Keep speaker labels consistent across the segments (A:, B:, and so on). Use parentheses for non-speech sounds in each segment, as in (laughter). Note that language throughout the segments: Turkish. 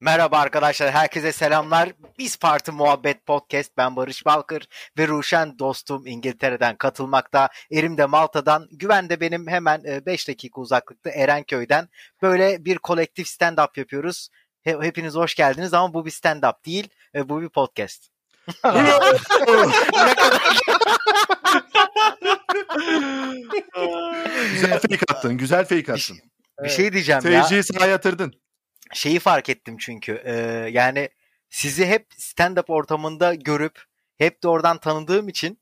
A: Merhaba arkadaşlar, herkese selamlar. Biz Parti Muhabbet Podcast, ben Barış Balkır ve Ruşen dostum İngiltere'den katılmakta. Erim de Malta'dan, Güven de benim hemen 5 dakika uzaklıkta Erenköy'den. Böyle bir kolektif stand-up yapıyoruz. He- Hepiniz hoş geldiniz ama bu bir stand-up değil, e, bu bir podcast.
B: güzel fake attın. Güzel fake attın.
A: Bir şey diyeceğim ya.
B: Seyirciyi sana yatırdın.
A: şeyi fark ettim çünkü. e, yani sizi hep stand-up ortamında görüp hep de oradan tanıdığım için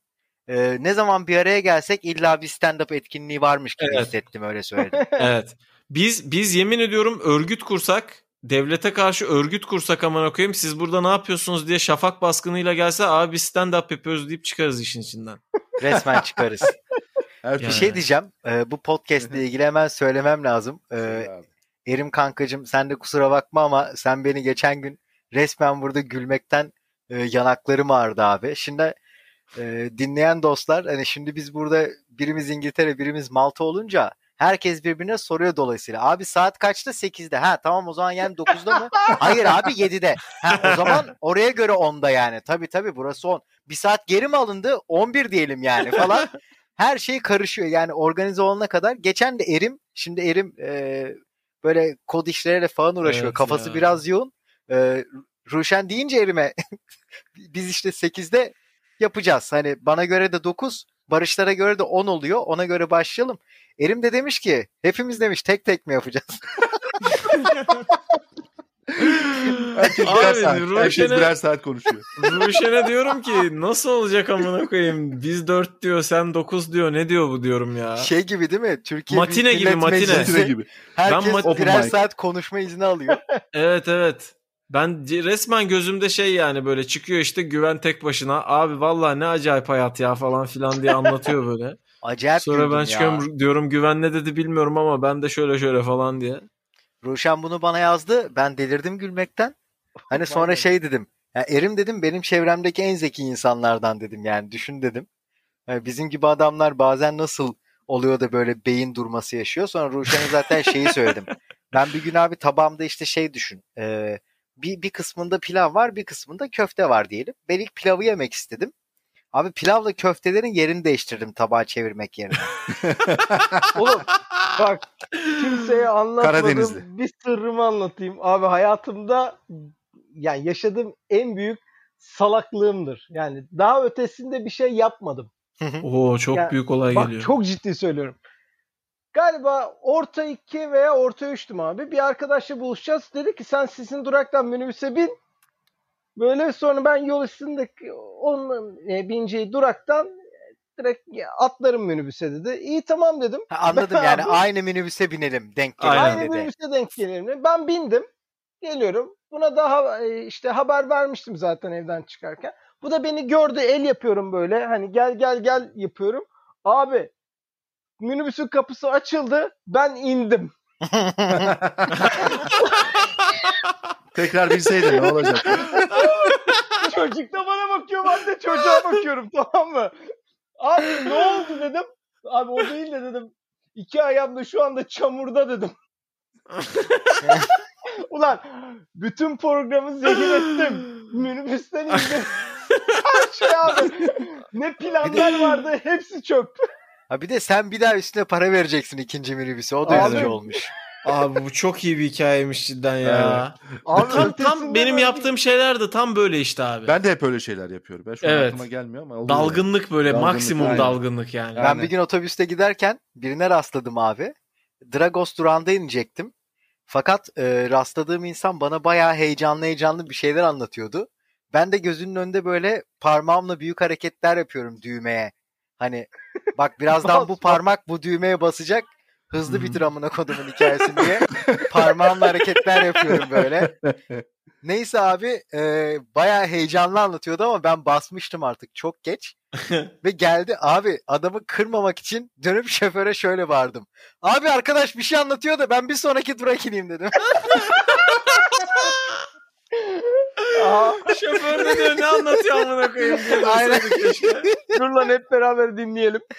A: e, ne zaman bir araya gelsek illa bir stand-up etkinliği varmış gibi
C: Evet.
A: hissettim öyle söyledim.
C: evet. Biz biz yemin ediyorum örgüt kursak, devlete karşı örgüt kursak aman koyayım siz burada ne yapıyorsunuz diye şafak baskınıyla gelse abi biz stand up yapıyoruz deyip çıkarız işin içinden.
A: Resmen
C: (laughs)
A: çıkarız.
B: Her
A: Bir
C: Yani.
A: şey diyeceğim. e, bu podcastle ilgili hemen söylemem lazım. E, Erim kankacığım sen de kusura bakma ama sen beni geçen gün resmen burada gülmekten e, yanaklarım ağrıdı abi. Şimdi e, dinleyen dostlar hani şimdi biz burada birimiz İngiltere birimiz Malta olunca herkes birbirine soruyor dolayısıyla. Abi saat kaçta? 8'de. Ha tamam o zaman yani 9'da mı? Hayır abi 7'de. Ha, o zaman oraya göre 10'da yani. Tabii tabii burası 10. Bir saat geri mi alındı? 11 diyelim yani falan. Her şey karışıyor yani organize olana kadar. Geçen de Erim, şimdi Erim e, böyle kod işleriyle falan uğraşıyor.
C: Evet
A: Kafası
C: ya.
A: biraz yoğun. E, Ruşen deyince Erim'e (laughs) biz işte 8'de yapacağız. Hani bana göre de 9, Barışlara göre de 10 oluyor. Ona göre başlayalım. Erim de demiş ki hepimiz demiş tek tek mi yapacağız?
B: Herkes birer
C: abi
B: saat, herkes
C: Ruşen'e
B: birer saat konuşuyor.
C: Ruşen'e diyorum ki nasıl olacak amına koyayım? Biz 4 diyor, sen 9 diyor. Ne diyor bu diyorum ya.
A: Şey gibi değil mi? Türkiye
C: Matine
A: Büyük
C: gibi,
A: Millet
C: matine.
A: Meclisi.
B: Zeytine gibi.
A: Herkes
C: Ben mat-
A: birer
B: Open mic.
A: saat konuşma izni alıyor.
C: Evet evet. Ben c- resmen gözümde şey yani böyle çıkıyor işte güven tek başına. Abi vallahi ne acayip hayat ya falan filan diye anlatıyor böyle.
A: Acayip
C: Sonra
A: güldüm
C: ben
A: ya.
C: çıkıyorum diyorum güven ne dedi bilmiyorum ama ben de şöyle şöyle falan diye.
A: Ruşen bunu bana yazdı. Ben delirdim gülmekten. Hani sonra şey dedim. Ya Erim dedim benim çevremdeki en zeki insanlardan dedim yani düşün dedim. Yani bizim gibi adamlar bazen nasıl oluyor da böyle beyin durması yaşıyor. Sonra Ruşen'e zaten şeyi söyledim. Ben bir gün abi tabağımda işte şey düşün. Ee, bir, bir kısmında pilav var bir kısmında köfte var diyelim. Ben ilk pilavı yemek istedim. Abi pilavla köftelerin yerini değiştirdim tabağa çevirmek yerine.
D: Oğlum bak kimseye anlatmadığım
B: Karadenizli.
D: bir sırrımı anlatayım. Abi hayatımda yani yaşadığım en büyük salaklığımdır. Yani daha ötesinde bir şey yapmadım.
C: Oo çok
D: Ya,
C: büyük olay
D: Bak
C: geliyor.
D: çok ciddi söylüyorum. Galiba orta iki veya orta üçtüm abi. Bir arkadaşla buluşacağız. Dedi ki sen sizin duraktan minibüse bin. Böyle sonra ben yol üstündeki onun e, bineceği duraktan e, direkt atlarım minibüse dedi. İyi tamam dedim.
A: Ha, Anladım yani
D: Abi-
A: aynı minibüse binelim denk
C: Aynen.
A: gelelim
D: Aynı
A: dedi.
D: minibüse şey denk gelirim. Ben bindim. Geliyorum. Buna daha e, işte haber vermiştim zaten evden çıkarken. Bu da beni gördü. El yapıyorum böyle. Hani gel gel gel yapıyorum. Abi minibüsün kapısı açıldı. Ben indim.
B: Tekrar bilseydin ne
A: (laughs)
B: olacak?
D: Çocuk da bana bakıyor. Ben de çocuğa bakıyorum. Tamam mı? Abi ne oldu dedim. Abi o değil de dedim. İki ayağım da şu anda çamurda dedim. Ulan bütün programı zehir ettim. Minibüsten indim. Her şey abi. Ne planlar vardı hepsi çöp.
A: Ha bir de sen bir daha üstüne para vereceksin ikinci minibüse. O da
C: Abi-
A: üzücü olmuş.
C: Abi bu çok iyi bir hikayeymiş cidden ya.
D: Abi
C: tam
D: ötesinden
C: tam benim
D: öyle-
C: yaptığım şeyler de tam böyle işte abi.
B: Ben de hep öyle şeyler yapıyorum. Ben şu an
C: Evet.
B: aklıma gelmiyor ama. oluyor.
C: dalgınlık böyle
B: Dalgınlık,
C: maksimum
B: aynen.
C: dalgınlık yani.
B: Aynen.
A: Ben bir gün otobüste giderken birine rastladım abi. Dragos durağında inecektim. Fakat e, rastladığım insan bana bayağı heyecanlı heyecanlı bir şeyler anlatıyordu. Ben de gözünün önünde böyle parmağımla büyük hareketler yapıyorum düğmeye. Hani bak birazdan bu parmak bu düğmeye basacak. Hızlı
C: Hı hı.
A: bitir amına kodumun hikayesini diye parmağımla hareketler yapıyorum
C: (laughs)
A: böyle. Neyse abi e, bayağı heyecanlı anlatıyordu ama ben basmıştım artık çok
C: (laughs)
A: geç. Ve geldi abi adamı kırmamak için dönüp şoföre şöyle bağırdım. Abi arkadaş bir şey anlatıyor da ben bir sonraki durak ineyim dedim.
D: Aha.
C: (laughs) Şoför de diyor ne anlatıyor amına koyayım diye
A: Aynen.
C: dursaydık keşke.
D: Dur lan hep beraber dinleyelim.
A: (laughs)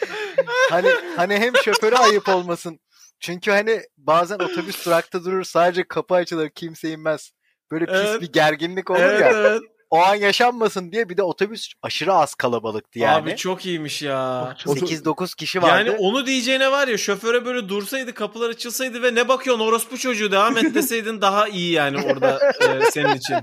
A: Hani hani hem şoföre ayıp olmasın. Çünkü hani bazen otobüs durakta durur sadece kapı açılır kimse inmez. Böyle pis
C: Evet.
A: bir gerginlik olur
C: Evet,
A: ya.
C: evet.
A: O an yaşanmasın diye bir de otobüs aşırı az kalabalıktı yani.
C: Abi çok iyiymiş ya.
A: 8-9 kişi vardı.
C: Yani onu diyeceğine var ya şoföre böyle dursaydı kapılar açılsaydı ve ne bakıyorsun orospu çocuğu devam et deseydin daha iyi yani orada e, senin için.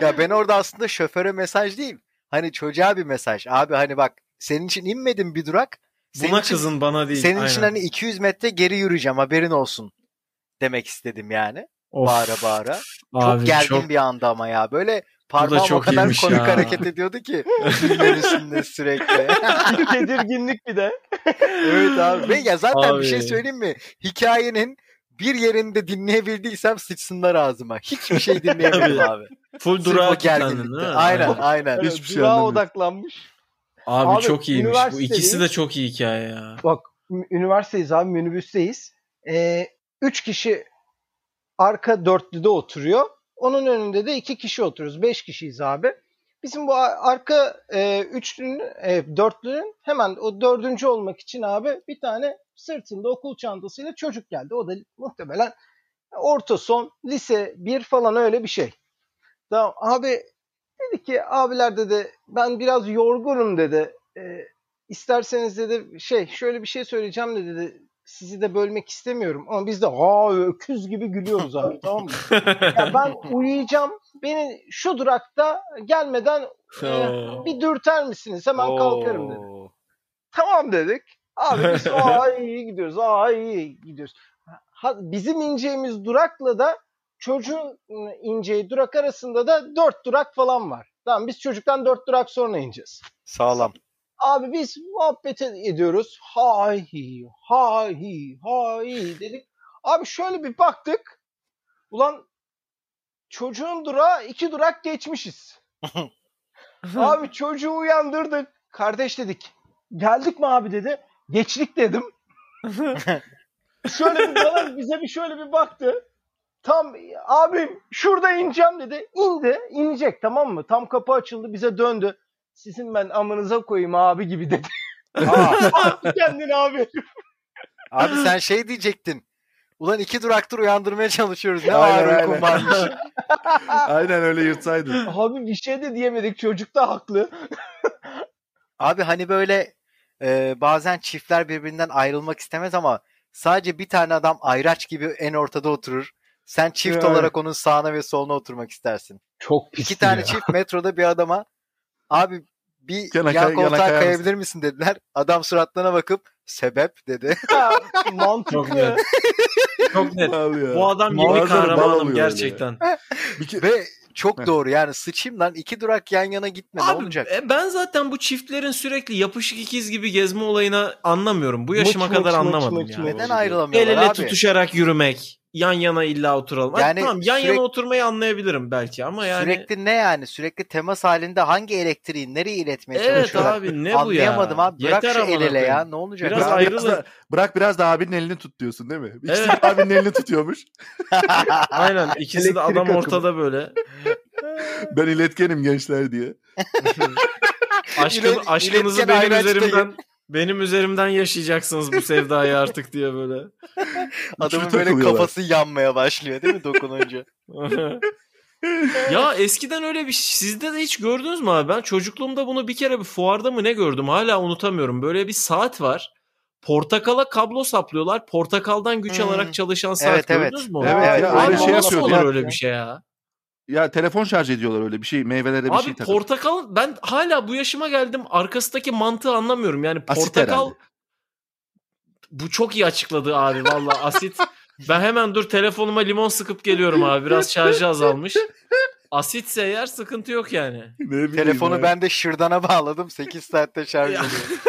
A: Ya ben orada aslında şoföre mesaj değil. Hani çocuğa bir mesaj. Abi hani bak senin için inmedim bir durak. Senin
C: Buna
A: için,
C: kızın bana değil.
A: Senin
C: Aynen.
A: için hani 200 metre geri yürüyeceğim haberin olsun demek istedim yani.
C: Of,
A: Bağıra bağıra.
C: abi,
A: çok gergin bir anda ama ya. Böyle parmağım
C: çok
A: o kadar
C: iyiymiş
A: komik
C: ya.
A: hareket ediyordu ki. (laughs) Filmler üstünde sürekli.
D: Tedirginlik bir de.
A: evet (laughs) abi. Ve ya zaten
C: Abi.
A: bir şey söyleyeyim mi? Hikayenin bir yerinde dinleyebildiysem sıçsınlar ağzıma. Hiçbir şey dinleyemedim abi.
C: Full
A: Sırf
C: durağa
A: o
C: kilitlendim değil mi?
A: gerginlikte. Aynen aynen.
D: Yani
B: Hiçbir şey
D: durağa
B: anlamıyorum.
D: odaklanmış.
C: Abi,
D: Abi,
C: çok iyiymiş. Bu
D: üniversiteyi-
C: ikisi de çok iyi hikaye ya.
D: Bak ü- üniversiteyiz abi minibüsteyiz. Ee, üç kişi arka dörtlüde oturuyor. Onun önünde de iki kişi oturuyoruz. Beş kişiyiz abi. Bizim bu a- arka e, üçlünün, e, dörtlünün hemen o dördüncü olmak için abi bir tane sırtında okul çantasıyla çocuk geldi. O da muhtemelen orta son, lise bir falan öyle bir şey. Tamam abi dedi ki abiler dedi ben biraz yorgunum dedi. Ee, İsterseniz dedi şey şöyle bir şey söyleyeceğim de dedi sizi de bölmek istemiyorum ama biz de ha öküz gibi gülüyoruz abi tamam mı? Ya ben uyuyacağım beni şu durakta gelmeden e,
C: Oo.
D: bir dürter misiniz hemen kalkarım dedi.
A: Oo.
D: Tamam dedik abi biz aa iyi gidiyoruz aa iyi gidiyoruz. Ha, bizim ineceğimiz durakla da çocuğun ineceği durak arasında da dört durak falan var. Tamam biz çocuktan dört durak sonra ineceğiz.
A: Sağlam.
D: Abi biz muhabbet ed- ediyoruz. Hay hi, hay hi, hay hi dedik. Abi şöyle bir baktık. Ulan çocuğun durağı iki durak geçmişiz. abi çocuğu uyandırdık. Kardeş dedik. Geldik mi abi dedi. Geçlik dedim. şöyle bir bana bize bir şöyle bir baktı. Tam abim şurada ineceğim dedi. İndi. inecek tamam mı? Tam kapı açıldı bize döndü sizin ben amınıza koyayım abi gibi dedi. Attı kendini (laughs) abi.
A: Abi sen şey diyecektin. Ulan iki duraktır uyandırmaya çalışıyoruz. Ne
B: Aynen,
A: ağır uykum
B: aynen.
A: varmış.
B: Aynen
C: (laughs)
B: öyle yırtsaydın.
D: Abi bir şey de diyemedik çocuk da haklı.
A: Abi hani böyle e, bazen çiftler birbirinden ayrılmak istemez ama sadece bir tane adam ayraç gibi en ortada oturur. Sen çift
B: Yani.
A: olarak onun sağına ve soluna oturmak istersin.
D: Çok pis.
A: İki
D: (laughs)
A: tane çift metroda bir adama abi bir
B: Yana kay-
A: yan
B: yana
A: koltuğa
B: kayar
A: kayabilir misin dediler. Adam suratlarına bakıp sebep
C: (laughs)
A: dedi.
C: Çok
A: (laughs)
D: Mantıklı.
C: net. Çok net. Bu adam yeni
B: Bazıları bal alıyor
C: kahramanım
B: öyle.
C: gerçekten.
B: Bir ke-
A: Ve çok
B: Heh.
A: doğru yani sıçayım lan iki durak yan yana gitme ne
C: Abi
A: olacak?
C: e, ben zaten bu çiftlerin sürekli yapışık ikiz gibi gezme olayını anlamıyorum. Bu yaşıma
D: Mıç, mıç,
C: kadar
D: mıç,
C: anlamadım
D: mıç,
C: yani.
D: mıç.
A: Neden
C: El
A: ayrılamıyorlar
C: ele
A: abi?
C: tutuşarak yürümek. Yan yana illa oturalım. Hadi
A: Yani
C: tamam yan
A: sürekli-
C: yana oturmayı anlayabilirim belki ama yani.
A: Sürekli ne yani? Sürekli temas halinde hangi elektriği nereye iletmeye
C: Evet
A: çalışıyorlar?
C: abi ne bu ya?
A: Anlayamadım abi. Bırak şu
C: amına
A: el ele ya.
C: koyayım.
A: Ne olacak?
C: Biraz
A: abi?
B: bırak, biraz
C: ayrılın.
B: da, bırak biraz da abinin elini tut diyorsun değil mi? İkisi
C: Evet.
B: de abinin elini tutuyormuş.
C: Aynen ikisi de
D: Elektrik
C: adam
D: akımı.
C: ortada böyle.
B: Ben iletkenim gençler diye.
C: Aşkın,
A: İlet-
C: aşkınızı
A: iletken
C: benim
A: ayraç dayı.
C: üzerimden (laughs) benim üzerimden yaşayacaksınız bu sevdayı artık diye böyle. (laughs)
A: Adamın
B: Üçlü
A: böyle
B: takılıyorlar.
A: kafası yanmaya başlıyor değil mi dokununca?
C: (laughs) ya eskiden öyle bir sizde de hiç gördünüz mü abi? Ben çocukluğumda bunu bir kere bir fuarda mı ne gördüm hala unutamıyorum. Böyle bir saat var. Portakala kablo saplıyorlar. Portakaldan güç
A: Hmm.
C: alarak çalışan saat
A: Evet, evet.
C: gördünüz mü? onu?
B: Evet,
D: ya,
C: Abi
D: öyle şey
C: nasıl
B: yapıyordu
C: olur
B: ya.
C: öyle bir şey ya?
B: Ya telefon şarj ediyorlar öyle bir şey. Meyvelere bir
C: Abi
B: şey takıp.
C: portakal ben hala bu yaşıma geldim arkasındaki mantığı anlamıyorum. Yani
B: Asit
C: portakal
B: herhalde.
C: bu çok iyi açıkladı abi valla asit. Ben hemen dur telefonuma limon sıkıp geliyorum abi biraz şarjı azalmış. Asitse eğer sıkıntı yok yani.
B: Ne bileyim
A: Telefonu
B: ya.
A: ben de şırdana bağladım. 8 saatte
C: (laughs)
A: şarj
C: Ya.
A: ediyor.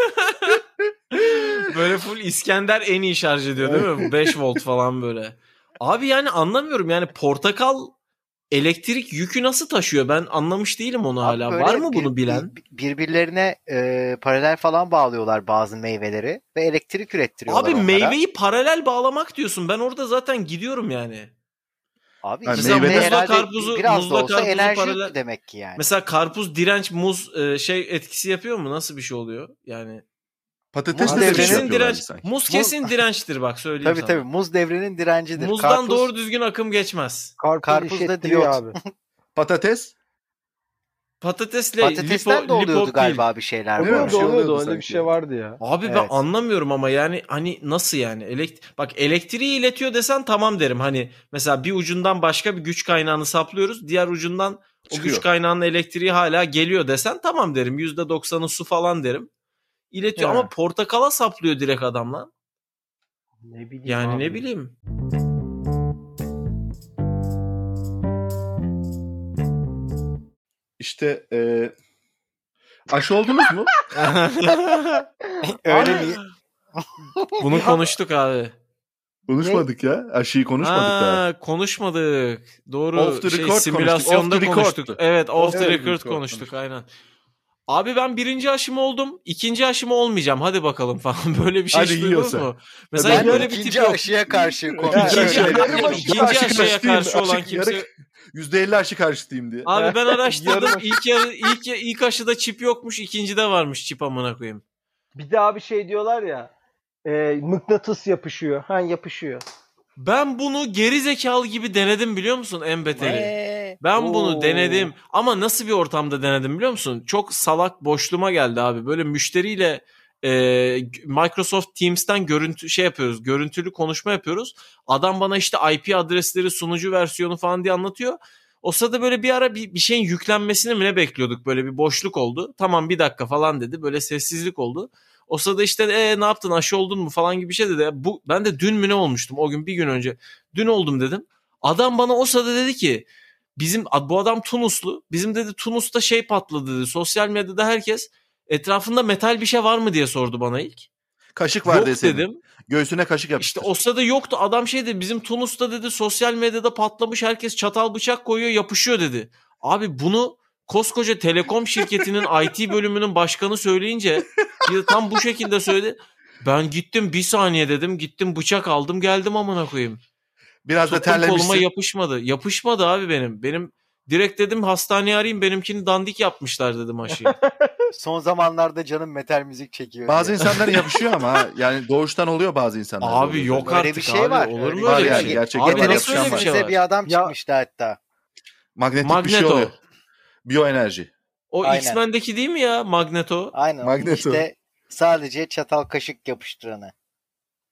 C: Böyle full İskender en iyi şarj ediyor değil mi? 5 volt falan böyle. Abi yani anlamıyorum yani portakal elektrik yükü nasıl taşıyor? Ben anlamış değilim onu
A: Abi
C: hala.
A: böyle e,
C: Var mı
A: bir-
C: bunu bilen?
A: bir- birbirlerine e, paralel falan bağlıyorlar bazı meyveleri ve elektrik ürettiriyorlar
C: Abi
A: onlara.
C: meyveyi paralel bağlamak diyorsun. Ben orada zaten gidiyorum yani.
A: Abi
B: Ha,
A: ikisi de
B: meyveden-
A: herhalde
C: Muzla karpuzu-
A: biraz
C: muzla
A: da olsa
C: karpuzu
A: enerji
C: paralel-
A: demek ki yani.
C: Mesela karpuz, direnç, muz e, şey etkisi yapıyor mu? Nasıl bir şey oluyor? Yani
B: Patates
C: muz
B: de bir şey
C: kesin
B: yapıyorlar
C: direnç.
B: sanki.
C: Muz kesin dirençtir bak söyleyeyim
A: tabii
C: sana.
A: tabii muz devrenin direncidir.
C: Muzdan
A: Karpuz-
C: doğru düzgün akım geçmez.
D: Karpuz,
A: Karpuz da
D: işittiriyor
A: diyot.
D: abi.
B: Patates
C: Patatesle
A: patatesten
C: lipo,
A: de oluyordu
C: lipo
A: galiba
C: değil.
A: bir şeyler.
B: Oluyor
A: böyle.
B: mu?
D: Oluyordu oluyordu
B: oluyordu
D: öyle bir
B: sanki.
D: şey vardı ya.
C: Abi ben
A: Evet.
C: anlamıyorum ama yani hani nasıl yani? Elekt Bak elektriği iletiyor desen tamam derim. Hani mesela bir ucundan başka bir güç kaynağını saplıyoruz. Diğer ucundan o
B: çıkıyor.
C: güç kaynağının elektriği hala geliyor desen tamam derim. %90'ı su falan derim. İletiyor
D: Evet.
C: ama portakala saplıyor direkt adam lan.
D: Ne bileyim
C: Yani
D: abi.
C: ne bileyim.
B: işte e, aşı oldunuz
A: (laughs)
B: mu?
A: Öyle
D: Abi-
A: mi?
C: Bunu konuştuk abi.
B: Konuşmadık ya. Aşıyı konuşmadık daha.
C: Ha, konuşmadık. Doğru.
B: Off the
C: şey,
B: record
C: simülasyonda
B: konuştuk. Off the
C: konuştuk.
B: record'tu.
C: Evet, off
B: Evet,
C: the record
B: record
C: konuştuk
B: konuştuk.
C: aynen. Abi ben birinci aşımı oldum. ikinci aşımı olmayacağım. Hadi bakalım falan. (laughs) Böyle bir şey
B: Hadi
C: hiç duydunuz
B: yiyorsa.
C: mu? Mesela
B: Ben
C: böyle bir tip
A: ikinci
C: yok.
A: aşıya karşı
B: İkinci
A: konuşuyor.
B: aşıya
A: Yani.
B: karşı-
C: İkinci
B: Aşı
C: aşıya
B: karşıyım,
C: karşı olan
B: aşı
C: kimse...
B: yarı- %50 aşı karşıtıyım diye.
C: Abi ben araştırdım.
D: Yarım.
C: ilk, yarı, ilk, ilk aşıda çip yokmuş. ikincide varmış çip amına koyayım.
D: (laughs) Bir daha bir şey diyorlar ya. E, mıknatıs yapışıyor. Ha yapışıyor.
C: Ben bunu geri zekalı gibi denedim biliyor musun en beteri?
A: Eee.
C: Ben bunu
D: Oo.
C: denedim ama nasıl bir ortamda denedim biliyor musun? Çok salak boşluğuma geldi abi. Böyle müşteriyle e, Microsoft Teams'ten görüntü şey yapıyoruz. Görüntülü konuşma yapıyoruz. Adam bana işte IP adresleri, sunucu versiyonu falan diye anlatıyor. O sırada böyle bir ara bir, bir şeyin yüklenmesini mi ne bekliyorduk? Böyle bir boşluk oldu. Tamam bir dakika falan dedi. Böyle sessizlik oldu. O sırada işte e, ne yaptın aşı oldun mu falan gibi bir şey dedi. Bu, ben de dün mü ne olmuştum o gün bir gün önce. Dün oldum dedim. Adam bana o sırada dedi ki bizim bu adam Tunuslu. Bizim dedi Tunus'ta şey patladı dedi. Sosyal medyada herkes etrafında metal bir şey var mı diye sordu bana ilk.
B: Kaşık var
C: Yok
B: deseydin.
C: dedim.
B: Göğsüne kaşık
C: İşte
B: yapıştır.
C: o sırada yoktu. Adam şey dedi bizim Tunus'ta dedi sosyal medyada patlamış herkes çatal bıçak koyuyor yapışıyor dedi. Abi bunu koskoca telekom şirketinin IT bölümünün başkanı söyleyince bir de tam bu şekilde söyledi. Ben gittim bir saniye dedim gittim bıçak aldım geldim amına koyayım.
B: Biraz da
C: Tuttum koluma
B: terlemişsin.
C: yapışmadı. Yapışmadı abi benim. Benim direkt dedim hastaneye arayayım benimkini dandik yapmışlar dedim
B: (laughs)
C: aşıyı.
A: Son zamanlarda canım metal müzik çekiyor.
B: Bazı
A: diye.
B: insanlar yapışıyor ama ha. yani doğuştan oluyor bazı insanlar.
C: abi yok
A: Öyle
C: artık
A: bir şey
C: abi.
A: var.
C: Olur mu
A: Öyle
B: Var
C: öyle bir
B: yani,
C: şey?
B: gerçekten
C: abi
B: var,
C: nasıl öyle bir
B: yapışan
C: şey
A: Bize
C: var?
A: bir adam
D: Ya-
A: çıkmıştı hatta.
B: Magnetik bir şey
C: Magneto.
B: oluyor. Biyoenerji.
C: O
A: Aynen.
C: X-Men'deki değil mi ya Magneto?
A: Aynen.
B: Magneto.
A: İşte sadece çatal kaşık yapıştıranı.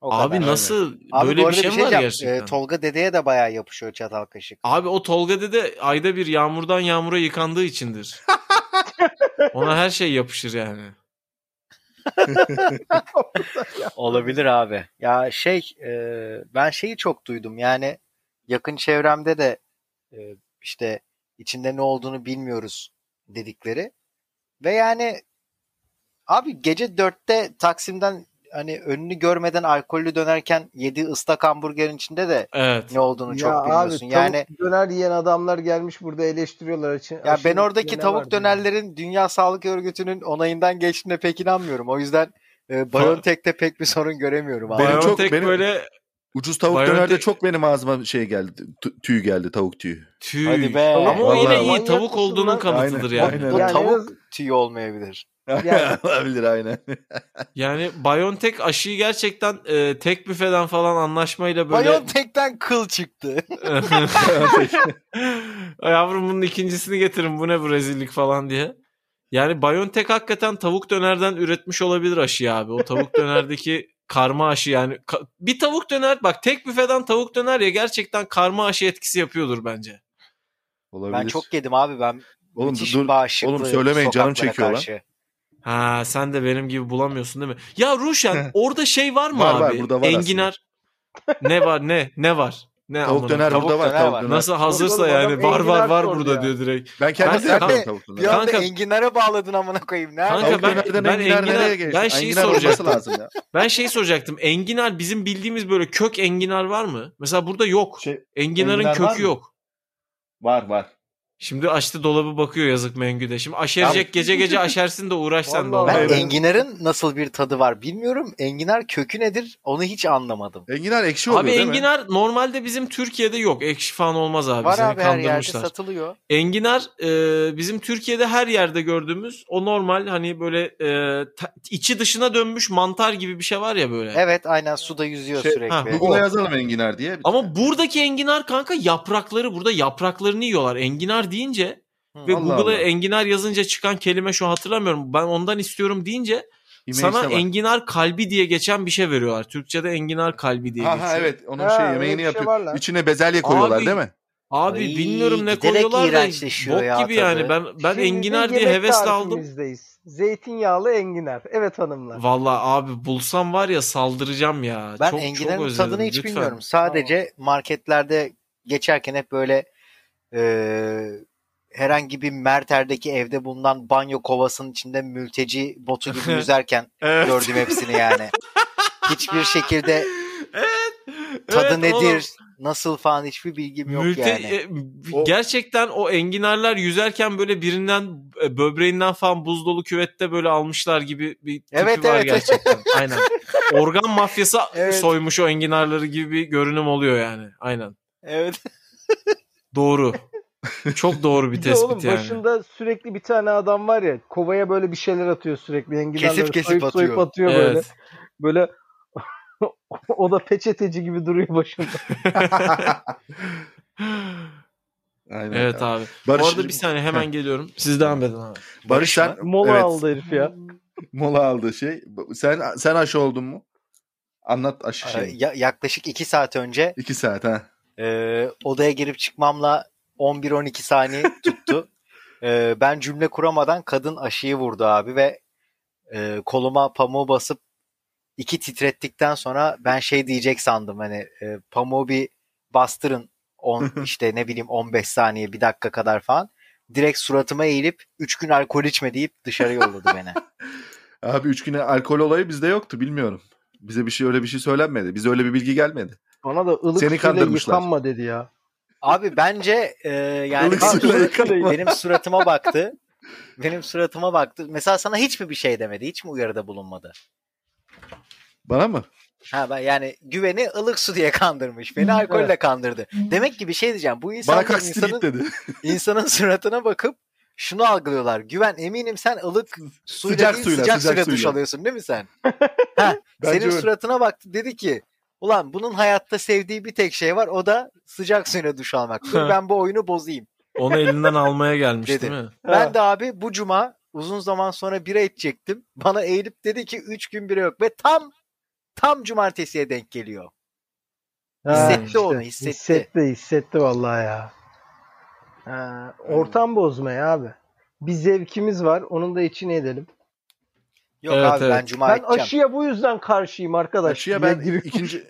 A: O
C: Abi
A: kadar.
C: nasıl
A: Abi bu
C: böyle bir
A: arada
C: şey mi var
A: diyeceğim.
C: gerçekten?
A: Ee, Tolga dedeye de bayağı yapışıyor çatal kaşık.
C: Abi o Tolga dede ayda bir yağmurdan yağmura
A: (laughs)
C: yıkandığı içindir. Ona her şey yapışır yani.
A: (laughs) Olabilir abi. Ya şey e, ben şeyi çok duydum yani yakın çevremde de e, işte içinde ne olduğunu bilmiyoruz dedikleri ve yani abi gece dörtte Taksim'den hani önünü görmeden alkollü dönerken yediği ıslak hamburgerin içinde de
C: Evet.
A: ne olduğunu
D: ya
A: çok
D: abi
A: bilmiyorsun.
D: tavuk
A: yani
D: döner yiyen adamlar gelmiş burada eleştiriyorlar. Açın,
A: ya ben
D: aşırı
A: oradaki
D: ne
A: tavuk
D: var diye.
A: dönerlerin Dünya Sağlık Örgütü'nün onayından geçtiğine pek inanmıyorum. O yüzden e, Biontech'te pek bir sorun göremiyorum abi.
B: Benim
C: Benim
B: çok-
C: çok
B: benim-
C: böyle
B: Ucuz tavuk
C: Biyoenerji-
B: dönerde çok benim ağzıma şey geldi. t- Tüy geldi tavuk tüyü.
C: tüy.
A: Hadi be.
C: Ama o
B: Vallahi.
C: yine iyi
D: Manyak
C: tavuk
D: mısın
C: olduğunun
D: lan?
C: kanıtıdır
B: Aynen,
C: yani.
A: Bu
D: Yani en
A: tavuk
D: az-
A: tüyü olmayabilir.
D: Yani-
B: (laughs)
A: (laughs)
B: Olabilir aynen.
C: Yani Biontech aşıyı gerçekten e, tek büfeden falan anlaşmayla böyle
A: Biontech'ten kıl çıktı.
C: (laughs) Yavrum bunun ikincisini getirin bu ne bu rezillik falan diye. Yani Biontech hakikaten tavuk dönerden üretmiş olabilir aşıyı abi. O tavuk dönerdeki karma aşı yani. Ka- bir tavuk döner bak tek büfeden tavuk döner ya gerçekten karma aşı etkisi yapıyordur bence.
B: Olabilir.
A: ben çok yedim abi ben.
B: Oğlum
A: müthiş
B: dur-
A: bağışıklığı
B: oğlum söylemeyin, canım
A: sokaklara
B: çekiyor lan.
A: karşı.
C: Ha sen de benim gibi bulamıyorsun değil mi? Ya Ruşen orada şey var mı
B: Var,
C: abi?
B: var, burada var
C: Enginar. ne var ne? Ne var? Ne
B: tavuk
C: amına-
B: döner
A: Tavuk
B: burada var.
A: döner
B: Tavuk
A: var.
B: döner.
C: Nasıl hazırsa
D: Oğlum, adam
C: yani var var
D: enginar
C: var
D: sordu
C: burada
D: ya.
C: diyor direkt.
B: Ben
C: Ben-
B: kendim
A: Kanka-
B: yapmam tavuk
A: Bir
B: döner.
A: anda
C: Kanka-
A: enginara bağladın amına koyayım. Ne
C: Kanka-
A: Kanka,
B: Tavuk
C: ben-
B: dönerden
C: ben
B: enginar
C: enginar-
B: nereye geçti?
C: ben şeyi
B: Enginar
C: soracaktım.
B: olması lazım ya.
C: Ben şeyi soracaktım. Enginar bizim bildiğimiz böyle kök enginar var mı? Mesela burada yok.
B: Şey,
C: Enginar'ın
B: enginar var
C: kökü
B: mı?
C: yok.
B: var var.
C: Şimdi açtı dolabı bakıyor yazık Mengü'de. Şimdi aşerecek gece gece aşersin de uğraş sen de.
D: Vallahi
C: onunla.
A: Ben
D: Hayır, ben-
A: enginarın nasıl bir tadı var bilmiyorum. Enginar kökü nedir onu hiç anlamadım.
B: Enginar ekşi Şey oluyor
C: Abi
B: değil mi?
C: enginar normalde bizim Türkiye'de yok. Ekşi falan olmaz abi.
A: var
C: Seni
A: abi her yerde
C: kandırmışlar.
A: satılıyor.
C: Enginar e, bizim Türkiye'de her yerde gördüğümüz o normal hani böyle e, ta- içi dışına dönmüş mantar gibi bir şey var ya böyle.
A: Evet aynen suda yüzüyor
B: Şey-
A: sürekli.
C: Ha,
B: Google'a yazalım enginar diye.
C: Ama buradaki enginar kanka yaprakları burada yapraklarını yiyorlar. Enginar deyince
A: Hı,
C: ve
B: Allah
C: Google'a
B: Allah.
C: enginar yazınca çıkan kelime şu an hatırlamıyorum. Ben ondan istiyorum deyince
B: İmeyiş'te
C: sana
B: bak.
C: enginar kalbi diye geçen bir şey veriyorlar. Türkçe'de enginar kalbi diye
B: Ha,
C: geçiyor.
B: ha, evet onun
D: Ha,
B: şey
D: öyle
B: yemeğini
D: bir şey
B: yapıyor.
D: var lan.
B: İçine bezelye koyuyorlar
C: Abi, (laughs)
B: değil mi?
C: Abi
A: Ay,
C: bilmiyorum ne
A: giderek
C: koyuyorlar da
A: iğrençleşiyor
C: bok
A: ya
C: gibi yani.
A: tadı.
C: Ben ben
D: Şimdi de
C: enginar diye
D: yemek
C: hevesle aldım.
D: tarifimizdeyiz. Zeytinyağlı enginar. Evet hanımlar.
C: Vallahi abi bulsam var ya saldıracağım ya.
A: Ben
C: çok,
A: enginarın
C: çok özledim.
A: tadını hiç
C: Lütfen.
A: bilmiyorum. Sadece marketlerde geçerken hep böyle e, herhangi bir Merter'deki evde bulunan banyo kovasının içinde mülteci botu
C: (laughs)
A: gibi yüzerken
C: Evet.
A: gördüm hepsini yani. Hiçbir
C: (laughs)
A: şekilde
C: evet.
A: tadı
C: evet,
A: nedir,
C: oğlum.
A: nasıl falan hiçbir bilgim yok
C: Mülte-
A: yani.
C: e, b-
B: O-
C: Gerçekten o enginarlar yüzerken böyle birinden e, böbreğinden falan buz dolu küvette böyle almışlar gibi bir tipi
A: Evet,
C: var
A: evet. (laughs)
C: gerçekten. Aynen. Organ mafyası
A: Evet.
C: soymuş o enginarları gibi bir görünüm oluyor yani. Aynen.
A: Evet.
C: Doğru. Çok doğru bir
D: Bir de
C: tespit
D: oğlum
C: yani.
D: başında sürekli bir tane adam var ya kovaya böyle bir şeyler atıyor sürekli enginarları
A: Kesip kesip
D: soyup soyup
A: atıyor.
D: atıyor böyle.
C: Evet.
D: Böyle (laughs) o da peçeteci gibi duruyor başında.
B: Aynen.
C: evet abi. Bu
B: Barış,
C: arada bir saniye hemen geliyorum. Siz devam edin abi.
B: Barış sen
D: Mola
B: evet,
D: aldı herif ya.
B: Mola aldı şey. Sen sen aşı oldun mu? Anlat aşı
A: E,
B: şeyi.
A: ya- yaklaşık 2 saat önce
B: İki saat ha.
A: e, odaya girip çıkmamla 11-12 saniye tuttu. E, ben cümle kuramadan kadın aşıyı vurdu abi ve e, koluma pamuğu basıp iki titrettikten sonra ben şey diyecek sandım hani e, pamuğu bir bastırın 10 işte ne bileyim 15 saniye bir dakika kadar falan. Direkt suratıma eğilip 3 gün alkol içme deyip dışarı yolladı beni.
B: Abi üç güne alkol olayı bizde yoktu bilmiyorum. Bize bir şey öyle bir şey söylenmedi. Bize öyle bir bilgi gelmedi.
D: Bana da ılık
B: Seni
D: suyla
B: kandırmışlar.
D: yıkanma dedi ya.
A: Abi bence e, yani
B: Ilık suyla
C: (laughs)
B: yıkanma.
A: benim suratıma baktı. Benim suratıma baktı. Mesela sana hiç mi bir şey demedi? Hiç mi uyarıda bulunmadı?
B: Bana mı?
A: Ha ben yani güveni ılık su diye kandırmış. Beni alkolle kandırdı. Demek ki bir şey diyeceğim. Bu
B: Bana
A: insanlar
B: kalk siktir
A: insanın,
B: git dedi.
A: insanın suratına bakıp şunu algılıyorlar. Güven eminim sen ılık suyla
B: Sıcak
A: değil,
B: suyla,
A: sıcak,
B: sıcak
A: suyla duş
B: suyla.
A: alıyorsun değil mi
B: (laughs)
A: sen? ha,
B: Bence
A: senin
B: öyle.
A: suratına baktı dedi ki ulan bunun hayatta sevdiği bir tek şey var o da sıcak suyla duş almak. Dur ben bu oyunu bozayım.
C: Onu elinden almaya gelmiş
A: Dedi.
C: değil mi?
A: Ben
D: Ha.
A: de abi bu cuma uzun zaman sonra bira içecektim. Bana eğilip dedi ki 3 gün bira yok ve tam tam cumartesiye denk geliyor.
D: Ha,
A: Hissetti onu, hissetti.
D: Hissetti hissetti vallahi ya. Ha, ortam bozma ya abi. Bir zevkimiz var. Onun da içine edelim.
A: Yok
C: Evet,
A: abi ben
C: evet.
A: cuma
D: ben
A: içeceğim.
D: aşıya bu yüzden karşıyım arkadaş.
B: Aşıya
D: Dile
B: ben
D: girip-
B: ikinci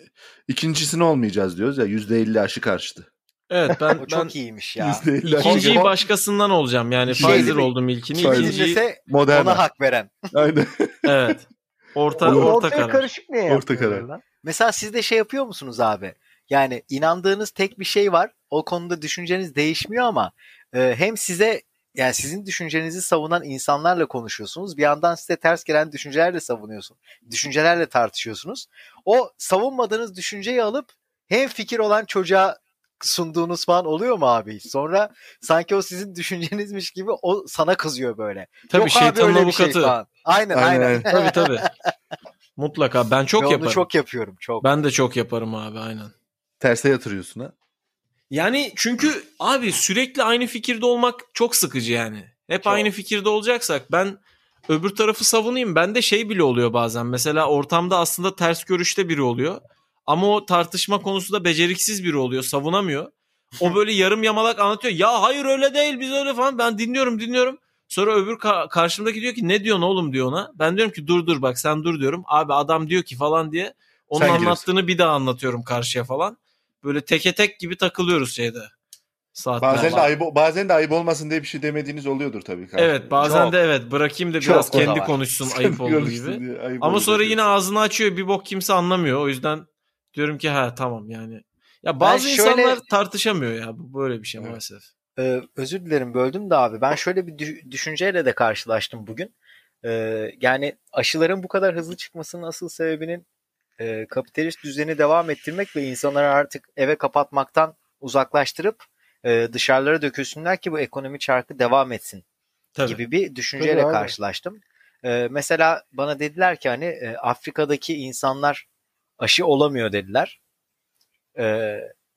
B: ikincisini olmayacağız diyoruz ya. Yüzde elli aşı karşıtı.
C: Evet
A: O
C: ben ben
A: çok iyiymiş ya.
B: Yüzde elli aşı
A: Şey
C: İkinciyi
B: karşıtı.
C: başkasından olacağım. Yani
B: Şey
C: Pfizer
A: değil mi?
C: oldum ilkini.
B: Pfizer.
C: ikinciyi-
A: Dinlese ona
B: Moderna.
A: hak veren.
B: Aynen.
C: evet. Orta
D: Oğlum
C: orta
D: ortaya
C: karar.
D: karışık ne
B: Orta
D: yapıyorlar
B: karar.
D: lan?
A: Mesela siz de şey yapıyor musunuz abi? Yani inandığınız tek bir şey var. O konuda düşünceniz değişmiyor ama e, hem size yani sizin düşüncenizi savunan insanlarla konuşuyorsunuz. Bir yandan size ters gelen düşüncelerle savunuyorsunuz. Düşüncelerle tartışıyorsunuz. O savunmadığınız düşünceyi alıp hem fikir olan çocuğa sunduğunuz falan oluyor mu abi? Sonra sanki o sizin (laughs) düşüncenizmiş gibi o sana kızıyor böyle.
C: Tabii
A: Yok abi
C: şeytanın
A: öyle bir şey
C: avukatı.
A: falan. Aynen aynen.
B: Aynen,
C: tabii tabii. Mutlaka ben çok
A: Ve onu
C: yaparım.
A: çok yapıyorum çok.
C: Ben de çok yaparım abi aynen.
B: (laughs) Terse yatırıyorsun ha.
C: Yani çünkü abi sürekli aynı fikirde olmak çok sıkıcı yani. Hep
A: Çok.
C: aynı fikirde olacaksak ben öbür tarafı savunayım. Ben de şey bile oluyor bazen. Mesela ortamda aslında ters görüşte biri oluyor. Ama o tartışma konusunda beceriksiz biri oluyor. Savunamıyor. O böyle yarım yamalak anlatıyor. Ya hayır öyle değil biz öyle falan. Ben dinliyorum dinliyorum. Sonra öbür ka- karşımdaki diyor ki ne diyorsun oğlum diyor ona. Ben diyorum ki dur dur bak sen dur diyorum. Abi adam diyor ki falan diye. Onun
B: Sen giriyorsun.
C: anlattığını bir daha anlatıyorum karşıya falan. Böyle teke tek gibi takılıyoruz şeyde. Saatler.
B: Bazen de ayıp bazen de ayıp olmasın diye bir şey demediğiniz oluyordur tabii ki.
C: Evet bazen
A: Çok.
C: de evet bırakayım da
A: Çok
C: biraz
A: o da
C: kendi
A: var.
C: konuşsun ayıp olduğu gibi.
B: Ayıp
C: Ama
B: olduğu
C: sonra
B: gibi.
C: yine ağzını açıyor bir bok kimse anlamıyor. O yüzden diyorum ki ha tamam yani. Ya bazı
A: şöyle-
C: insanlar tartışamıyor ya. Bu böyle bir şey
B: Evet.
C: maalesef.
A: Ee, özür dilerim böldüm de abi. Ben şöyle bir dü- düşünceyle de karşılaştım bugün. Ee, yani aşıların bu kadar hızlı çıkmasının asıl sebebinin e, kapitalist düzeni devam ettirmek ve insanları artık eve kapatmaktan uzaklaştırıp e, dışarılara dökülsünler ki bu ekonomi çarkı devam etsin
C: Tabii.
A: gibi bir düşünceyle
D: Tabii abi.
A: karşılaştım. Ee, mesela bana dediler ki hani e, Afrika'daki insanlar aşı olamıyor dediler. Ee,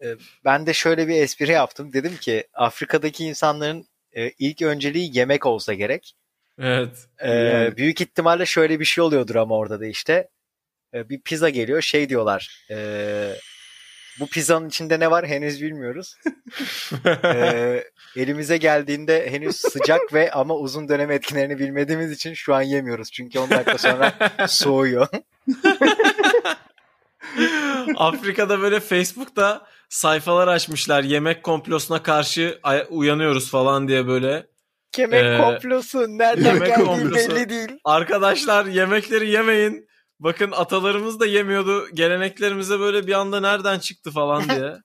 A: e, ben de şöyle bir espri yaptım. Dedim ki Afrika'daki insanların e, ilk önceliği yemek olsa gerek.
C: Evet. (laughs)
A: Ee,
B: Yani.
A: Büyük ihtimalle şöyle bir şey oluyordur ama orada da işte. Ee, bir pizza geliyor şey diyorlar. ee, bu pizzanın içinde ne var henüz (laughs) bilmiyoruz. Ee, elimize geldiğinde henüz sıcak ve ama uzun dönem etkilerini bilmediğimiz için şu an yemiyoruz. Çünkü 10 dakika sonra (laughs) soğuyor.
C: Afrika'da böyle Facebook'ta sayfalar açmışlar. Yemek komplosuna karşı ay- uyanıyoruz falan diye böyle.
A: Yemek
C: Ee,
A: komplosu nereden
B: yemek
A: geldiği
C: komplosu.
A: belli değil.
C: Arkadaşlar yemekleri yemeyin. Bakın atalarımız da yemiyordu. Geleneklerimize böyle bir anda nereden çıktı falan diye.
A: (laughs)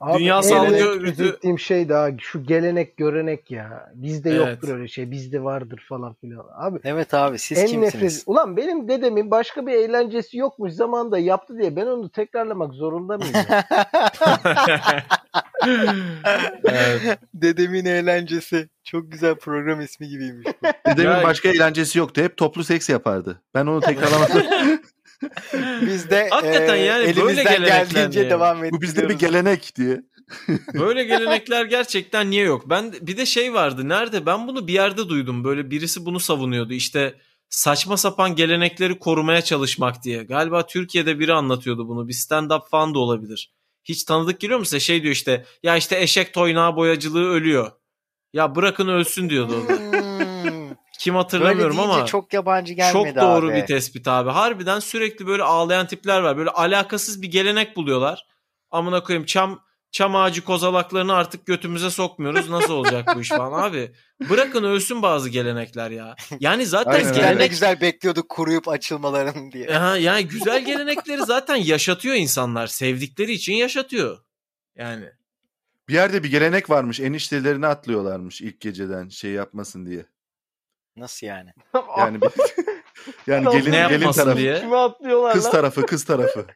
D: Abi,
C: Dünya
D: en
C: Sağlık
D: nefret
C: Örgütü-
D: ettiğim şey daha şu gelenek görenek ya. Bizde
C: Evet.
D: yoktur öyle şey. Bizde vardır falan filan. Abi
A: Evet abi siz
D: en
A: kimsiniz?
D: nefret. Ulan benim dedemin başka bir eğlencesi yokmuş zamanında yaptı diye ben onu tekrarlamak zorunda mıyım? ya? (laughs)
C: evet.
A: Dedemin eğlencesi. Çok güzel program ismi gibiymiş. bu.
B: Dedemin
C: Ya-
B: başka eğlencesi yoktu. Hep toplu seks yapardı. Ben onu (laughs) tekrarlamadım.
A: Biz de
C: Hakikaten
A: e,
C: yani böyle
A: elimizden
C: gelenekler
A: geldiğince
C: yani.
A: devam ediyoruz.
B: Bu bizde bir gelenek diye.
C: Böyle gelenekler gerçekten niye yok? Ben bir de şey vardı. Nerede? Ben bunu bir yerde duydum. Böyle birisi bunu savunuyordu. İşte saçma sapan gelenekleri korumaya çalışmak diye. Galiba Türkiye'de biri anlatıyordu bunu. Bir stand-up fan da olabilir. Hiç tanıdık geliyor mu size? Şey diyor işte ya işte eşek toynağı boyacılığı ölüyor. Ya bırakın ölsün diyordu. o da.
A: Hmm.
C: Kim
A: Böyle
C: hatırlamıyorum
A: deyince
C: ama.
A: çok yabancı
C: Çok
A: gelmedi
C: doğru
A: abi.
C: bir tespit abi. Harbiden sürekli böyle ağlayan tipler var. Böyle alakasız bir gelenek buluyorlar. Amına koyayım çam çam ağacı kozalaklarını artık götümüze sokmuyoruz. Nasıl olacak bu iş falan abi? Bırakın ölsün bazı gelenekler ya. Yani zaten
B: Aynen öyle.
A: Eskiden ne
C: gelenek
A: güzel bekliyorduk kuruyup açılmalarını diye.
C: Aha, yani güzel gelenekleri zaten yaşatıyor insanlar. Sevdikleri için yaşatıyor. Yani
B: Bir yerde bir gelenek varmış. Eniştelerini atlıyorlarmış ilk geceden şey yapmasın diye.
A: Nasıl yani?
B: (laughs) (laughs) Yani bir- yani
D: Ne
B: gelin
C: ne
B: gelin
C: yapmasın
B: tarafı,
C: diye.
D: Kime atlıyorlar
B: kız
D: lan?
B: tarafı, kız tarafı.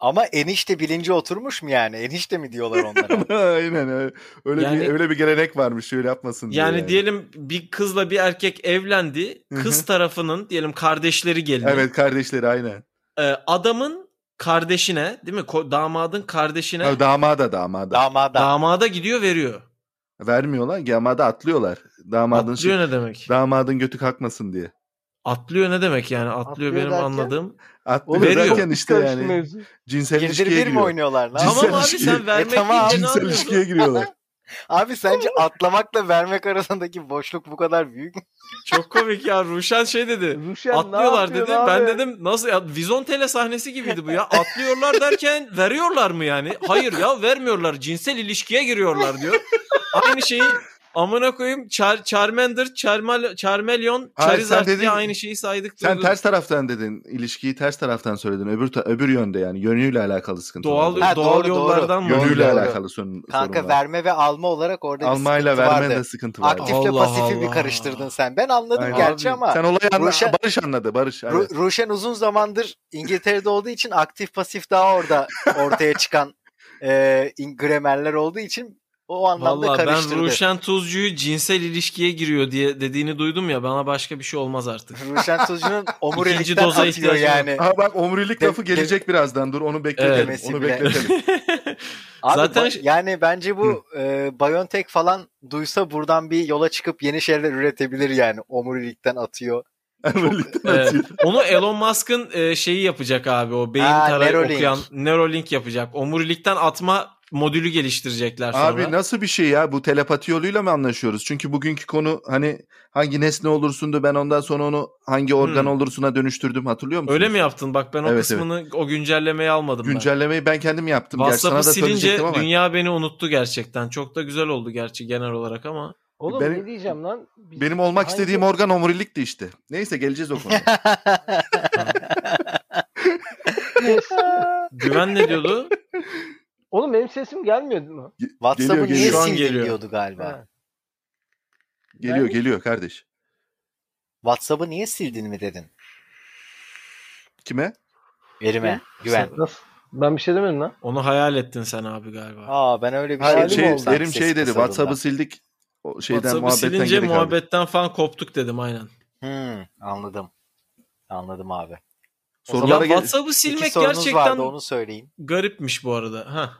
A: Ama enişte bilinci oturmuş mu yani? Enişte mi diyorlar
C: (laughs)
A: onlara?
B: (laughs) Aynen öyle. Öyle bir
C: Yani-
B: öyle bir gelenek varmış. Şöyle yapmasın diye.
C: Yani, diyelim bir kızla bir erkek evlendi.
B: Hı hı.
C: Kız tarafının diyelim kardeşleri gelini.
B: Evet kardeşleri aynen.
C: Ee, adamın kardeşine değil mi? Ko- damadın kardeşine
B: Ha, damada damada.
A: Damada.
C: damada gidiyor veriyor.
B: Vermiyorlar. Damada atlıyorlar. Damadın
C: atlıyor
B: şey,
C: ne demek?
B: damadın götü kalkmasın diye.
C: atlıyor ne demek yani? Atlıyor,
D: Atlıyor
C: benim
D: derken?
C: anladığım.
B: Atlıyor
C: Veriyor.
B: derken işte
D: Karıştı
B: yani
D: mevzu.
B: cinsel
A: Girdir
B: ilişkiye
A: bir mi
B: giriyor.
A: oynuyorlar? Ne
B: (laughs) Cinsel
A: yapıyorlar?
C: Tamam abi
B: ilişki.
C: sen vermek
A: E tamam.
C: deyince ne
B: Cinsel
C: anlıyorsun?
B: ilişkiye giriyorlar.
A: Abi sence atlamakla vermek arasındaki boşluk bu kadar büyük mü?
C: Çok komik ya. Ruşen şey dedi.
D: Ruşen, ne
C: atlıyorlar dedi.
D: yapıyorsun
C: Ben
D: abi?
C: dedim nasıl ya Vizontele sahnesi gibiydi bu ya. Atlıyorlar derken veriyorlar mı yani? Hayır ya vermiyorlar. Cinsel ilişkiye giriyorlar diyor. Aynı şeyi amına koyayım Char Charmander, Charmal Charmeleon,
B: Hayır, sen
C: Charizard diye
B: dedin-
C: aynı şeyi saydık.
B: Sen
C: durdun.
B: ters taraftan dedin. ilişkiyi ters taraftan söyledin. Öbür ta- öbür yönde yani yönüyle alakalı sıkıntı.
C: doğal
B: var.
A: Ha, doğru,
C: doğal
A: doğru.
C: yollardan mı?
B: yönüyle
A: doğru.
B: alakalı sorun,
A: Kanka
B: sorun var.
A: verme ve alma olarak orada bir
B: Almayla
A: sıkıntı
B: verme de
A: vardı.
B: sıkıntı var.
A: Aktifle
C: Allah
A: pasifi bir
C: Allah.
A: karıştırdın sen. Ben anladım
B: Aynen.
A: gerçi
C: Abi,
A: ama
B: Sen olayı anla-
A: Ruşen-
B: Barış anladı. Barış.
A: Ru-
B: aynen.
A: Ruşen uzun zamandır İngiltere'de olduğu için aktif pasif daha orada ortaya çıkan (laughs) e, in- gramerler olduğu için o anlamda
C: Valla ben
A: karıştırdı.
C: Ruşen Tuzcu'yu cinsel ilişkiye giriyor diye dediğini duydum ya bana başka bir şey olmaz
B: (laughs)
C: artık.
A: Ruşen Tuzcu'nun
C: (laughs) İkinci
A: omurilikten
C: doza
A: atıyor
C: ihtiyacı
A: yani.
B: Ha bak omurilik
A: De-
B: lafı gelecek birazdan. Dur onu bekletelim.
A: Evet. Demesi
B: onu
A: bile-
C: (laughs)
B: bekletelim.
A: Abi
C: Zaten
A: ba- yani bence bu e, Biontech falan duysa buradan bir yola çıkıp yeni şeyler üretebilir yani. Omurilikten
B: (laughs)
A: atıyor.
B: Omurilikten
C: Evet.
B: atıyor.
C: Ee, onu Elon Musk'ın e, şeyi yapacak abi o beyin
A: Aa,
C: tarayı
A: Neuralink.
C: okuyan Neuralink yapacak. Omurilikten atma modülü geliştirecekler sonra.
B: Abi nasıl bir şey ya? Bu telepati yoluyla mı anlaşıyoruz? Çünkü bugünkü konu hani hangi nesne olursundu ben ondan sonra onu hangi organ
C: Hmm.
B: olursuna dönüştürdüm hatırlıyor musun?
C: Öyle mi yaptın? Bak ben o
B: Evet, evet.
C: kısmını o güncellemeyi almadım ben.
B: Güncellemeyi ben kendim yaptım. Gerçi sana
C: WhatsApp'ı
B: da
C: silince
B: söyleyecektim ama.
C: dünya beni unuttu gerçekten. Çok da güzel oldu gerçi genel olarak ama.
D: Oğlum
B: Benim-
D: ne diyeceğim lan? Biz-
B: Benim olmak
D: hangi-
B: istediğim organ omurilikti işte. Neyse geleceğiz o
A: (laughs)
B: konuya.
D: Kes-
B: (laughs)
C: Güven ne diyordu?
D: (laughs) Oğlum benim sesim gelmiyor mu?
A: WhatsApp'ı
B: Geliyor,
A: niye
B: geliyor.
C: an
A: sildin
C: geliyor.
A: diyordu galiba.
D: Ha.
B: Geliyor geliyor kardeş.
A: WhatsApp'ı niye sildin mi dedin?
B: Kime?
A: Erime. Güven.
D: Nasıl? Ben bir şey demedim lan.
C: Onu hayal ettin sen abi galiba.
A: Aa ben öyle bir şey,
B: Hayır, şey,
A: oldu.
B: Derim
A: Ses
B: şey dedi.
A: kısaldığında.
B: WhatsApp'ı sildik. O şeyden
C: WhatsApp'ı
B: muhabbetten
C: silince
B: geri kaldık.
C: muhabbetten falan koptuk dedim aynen.
A: Hmm, anladım. Anladım abi.
B: Sorulara
C: ya
B: gel-
C: WhatsApp'ı
A: İki
C: silmek
A: sorunuz
C: gerçekten
A: vardı onu söyleyin.
C: garipmiş bu arada. Ha.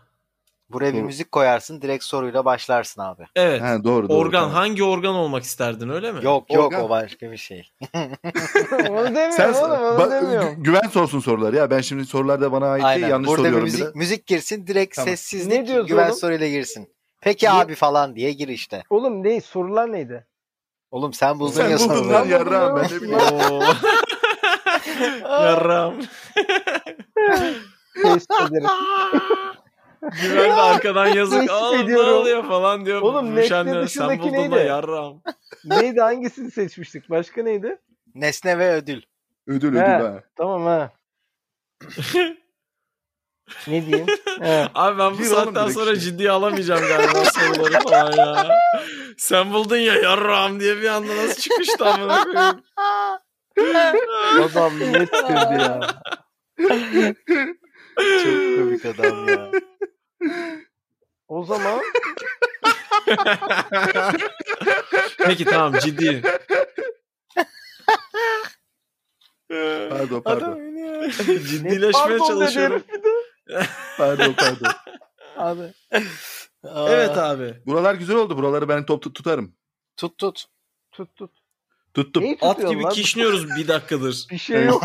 A: Buraya bir
B: Doğru.
A: müzik koyarsın direkt soruyla başlarsın abi.
C: Evet.
B: Ha, doğru, doğru,
C: organ
B: tamam.
C: hangi organ olmak isterdin öyle mi?
A: Yok yok
B: Organ-
A: o başka bir şey.
D: (laughs) onu demiyorum
B: Sen
D: oğlum onu
B: Ba-
D: demiyorum.
B: Gü- güven sorsun soruları ya. Ben şimdi sorular da bana ait değil.
A: Aynen.
B: Yanlış
A: Burada bir
B: soruyorum
A: müzik,
B: bile.
A: müzik girsin direkt
B: Tamam.
A: sessizlik
D: Ne diyorsun
A: güven
D: oğlum?
A: soruyla girsin. Peki
D: Ne-
A: abi falan diye gir işte.
D: Oğlum ne sorular neydi?
A: Oğlum sen buldun
B: Sen
A: ya
B: buldun
A: soruları.
B: lan
D: Ben buldum
B: yarrağım
D: ya.
B: ben de bilmiyorum.
C: (laughs) Oo. Yaram.
D: (laughs) Test ederim.
C: Güven de arkadan yazık.
D: Teessüf
C: Aa, ne
D: ediyorum.
C: oluyor falan diyor.
D: Oğlum,
C: Müşenle,
D: Net'le
C: sen
D: dışındaki
C: buldun da
D: neydi?
C: yarram.
D: neydi hangisini seçmiştik? Başka neydi?
A: Nesne ve ödül.
B: Ödül ödül
D: He.
B: ha.
D: Tamam ha. ne diyeyim? (laughs) He.
C: Abi ben bu
B: Gir oğlum
C: saatten
B: direkt
C: sonra
B: işte.
C: ciddiye alamayacağım galiba soruları falan ya. Sen buldun ya yarram diye bir anda nasıl çıkıştı amına koyayım.
D: Adam ne sürdü ya.
A: Çok komik adam ya.
D: O zaman
C: Peki tamam ciddiyim.
B: Pardon pardon.
C: Ciddileşmeye
D: Pardon
C: çalışıyorum.
D: dedi herif bir de.
B: pardon pardon.
A: Abi.
C: (laughs) Evet abi.
B: Buralar güzel oldu. Buraları ben top tut- tutarım.
A: Tut tut. (laughs)
D: Tut tut.
B: Tuttum.
D: Neyi
C: At
D: tutuyorsun
C: gibi
D: lan?
C: kişniyoruz bir
D: (laughs)
C: dakikadır.
D: Bir şey yok.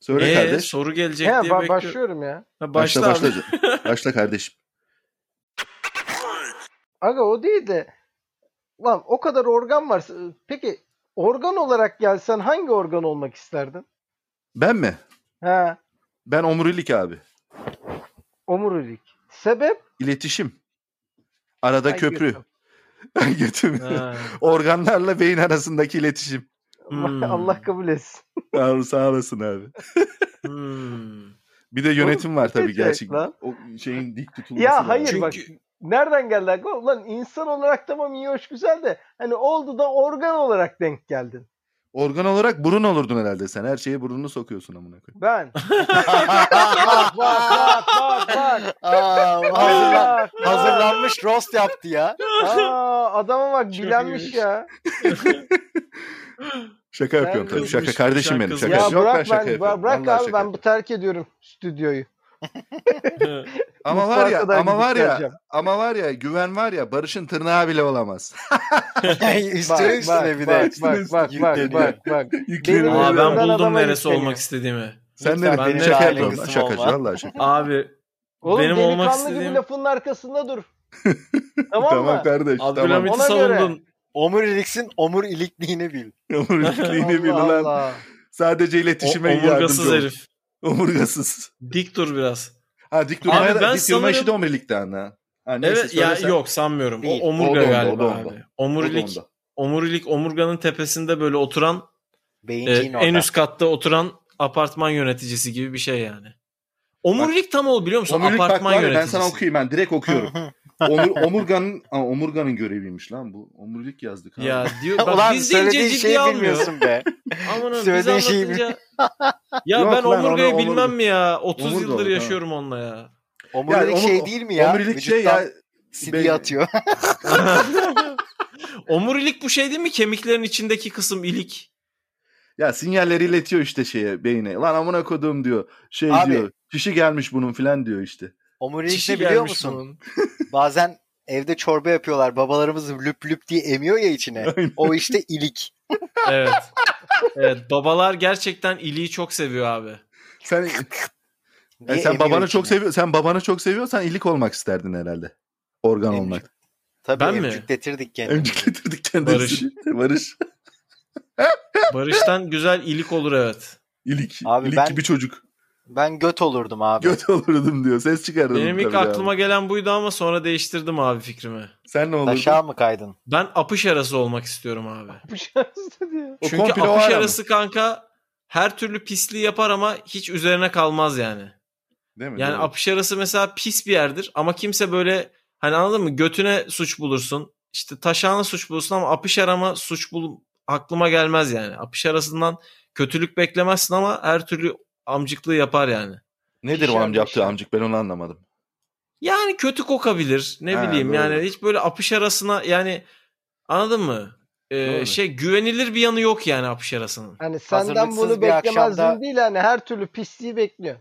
B: Söyle
C: Ee,
B: kardeş.
C: soru gelecek
D: He,
C: diye
D: ben
C: bekliyorum.
D: başlıyorum ya.
C: Ha,
B: Başla
C: başla, abi.
B: başla. başla kardeşim.
D: Aga o değil de lan o kadar organ var. Peki organ olarak gelsen hangi organ olmak isterdin?
B: Ben mi?
D: He,
B: Ben omurilik abi.
D: omurilik. Sebep?
B: İletişim. Arada
D: Ay,
B: köprü.
D: (laughs)
B: (laughs)
D: götüm.
B: Götüm.
D: (laughs)
C: Ha.
B: Organlarla beyin arasındaki iletişim.
C: Hmm.
D: Allah kabul etsin.
B: Sağ, ol- sağ olasın abi.
C: Hmm.
B: Bir de yönetim var tabii
D: ne
B: gerçek.
D: lan?
B: O şeyin dik tutulması.
D: Ya
B: lazım.
D: hayır
C: Çünkü-
D: bak nereden geldi aklıma? Ulan insan olarak tamam iyi hoş güzel de hani oldu da organ olarak denk geldin.
B: Organ olarak burun olurdun herhalde sen. Her şeye burnunu sokuyorsun amına koyayım.
D: Ben. bak (laughs) bak bak bak. (laughs)
A: Aa, hazırlan-
D: Bak, bak.
A: hazırlanmış roast yaptı ya.
D: Aa, adama bak
C: Çok
D: bilenmiş
C: iyiymiş.
D: ya.
B: Şaka
D: Ben
B: yapıyorum tabii.
C: kızmış,
B: Şaka kardeşim
C: sen
B: benim. Şaka.
C: kızmış.
D: Ya
B: Yok ben
D: bırak
B: şaka
D: ben,
B: yapıyorum.
D: bırak
B: Vallahi
D: abi
B: şaka
D: ben bu
B: yapıyorum.
D: terk ediyorum stüdyoyu.
B: Ama var ya,
D: Mutfağa kadar
B: ama var
D: gidip
B: ya,
D: geleceğim.
B: ama var ya, güven var ya, Barış'ın tırnağı bile (laughs) olamaz.
D: Bak,
A: üstüne
D: bak,
A: üstüne bir de.
D: bak, bak, bak, bak, bak, bak.
B: Yükleniyor.
D: Benim-
C: Aa, ben
D: Öbüründen
C: buldum
D: adama
C: neresi
D: yükleniyor.
C: olmak istediğimi.
B: Sen
A: Lütfen
B: de
C: benim
B: ben
C: de
B: şaka
C: aile
B: yapıyorum. lan,
A: kızım
B: Şakacı
A: olma.
B: vallahi şaka.
C: Abi
D: Oğlum
C: Benim olmak
D: delikanlı
C: istediğim-
D: gibi lafının arkasında (laughs) dur. tamam,
B: Tamam
D: mı?
B: kardeş, tamam. (laughs)
C: Abdülhamit'i
D: Ona
C: savundun.
A: Omuriliksin omurilikliğini bil.
B: Omuriliğini bil
D: Allah
B: ulan.
D: Allah.
B: Sadece
C: O,
B: iletişime
C: omurgasız
B: yardımcı ol.
C: herif.
B: Omurgasız.
C: Dik dur biraz.
B: Ha dik durmaya
C: Abi ben
B: da, dik durma işi de
C: sanırım-
B: omurilikten ha. ha neyse,
C: Evet ya
B: söyle sen.
C: yok sanmıyorum.
A: Değil.
C: O omurga
B: O da onda,
C: galiba
B: o da onda.
C: abi.
B: O da
C: Omurilik,
B: onda.
C: omurilik omurganın tepesinde böyle oturan e,
A: Beyinciğin orada.
C: en üst katta oturan apartman yöneticisi gibi bir şey yani. Omurilik tam ol biliyor musun?
B: Omurilik bak
C: apartman
B: var ya, ben
C: yöneticisi.
B: sana okuyayım ben
C: (laughs)
B: direkt okuyorum. Omur, omurganın, ama omurganın göreviymiş lan bu. Omurilik yazdık. abi.
C: Ya
B: (laughs)
C: diyor bak
A: Ulan
C: biz deyince
A: söylediğin
C: ciddiye
A: şeyi
C: almıyor.
A: bilmiyorsun be.
C: Aman abi, biz
A: Söylediğin şeyi
C: anlatınca... ya
B: Yok
C: ben
B: lan, onu
C: omurgayı
B: omurga-
C: bilmem mi ya? 30
B: Omurga
C: yıldır
B: olur,
C: yaşıyorum onunla ya. (laughs)
A: Omurilik
B: omur-
A: şey değil mi ya?
B: Omurilik şey ya.
A: CD
B: Be-
A: atıyor.
B: (laughs)
C: Omurilik bu şey değil mi? Kemiklerin içindeki kısım ilik.
B: Ya sinyalleri iletiyor işte şeye beyine. Lan amına kodum diyor. Şey
A: Abi.
B: diyor. Şişi gelmiş bunun filan diyor işte. şey
A: Omurilik ne
C: Çişi
A: biliyor
C: gelmiş
A: musun?
C: bunun.
A: Bazen evde çorba yapıyorlar. Babalarımız lüp lüp diye emiyor ya içine.
B: Aynen.
A: O işte ilik.
C: Evet. Evet babalar gerçekten iliği çok seviyor abi.
B: Sen
A: diye (laughs)
B: yani E, sen
A: emiyor
B: babanı çok
A: içine.
B: seviyor. Sen babanı çok seviyorsan ilik olmak isterdin herhalde. Organ
A: Emcik-
B: olmak.
A: Tabii
C: Ben mi?
A: emcikletirdik kendimizi.
B: Emcikletirdik kendisi.
C: Barış.
B: Barış.
C: Barış'tan güzel ilik olur evet.
B: İlik.
A: Abi
B: ilik
A: ben-
B: gibi çocuk.
A: Ben göt olurdum abi.
B: Göt olurdum diyor. Ses çıkarırdım.
C: Benim ilk
B: tabii abi.
C: aklıma gelen buydu ama sonra değiştirdim abi fikrimi.
B: Sen ne olurdun?
A: Taşağa mı kaydın?
C: Ben apış arası olmak istiyorum abi.
D: Bu şansı diyor.
B: O
C: Çünkü
B: komple o
C: apış
B: ara mı?
C: arası kanka her türlü pisliği yapar ama hiç üzerine kalmaz yani.
B: Değil mi?
C: Yani
B: Değil mi?
C: apış arası mesela pis bir yerdir ama kimse böyle hani anladın mı götüne suç bulursun. işte taşağına suç bulursun ama apış arama suç bul aklıma gelmez yani. Apış arasından kötülük beklemezsin ama her türlü amcıklığı yapar yani.
B: Nedir o
D: Pişer
B: amca yaptığı
D: pişer.
B: amcık ben onu anlamadım.
C: Yani kötü kokabilir ne
B: Ha,
C: bileyim
B: doğru.
C: yani hiç böyle apış arasına yani anladın mı? Ee,
B: Doğru.
C: şey güvenilir bir yanı yok yani apış arasının.
D: Hani senden
A: Hazırlıksız
D: bunu
A: bir
D: beklemezdin
A: akşamda-
D: değil hani her türlü pisliği bekliyor.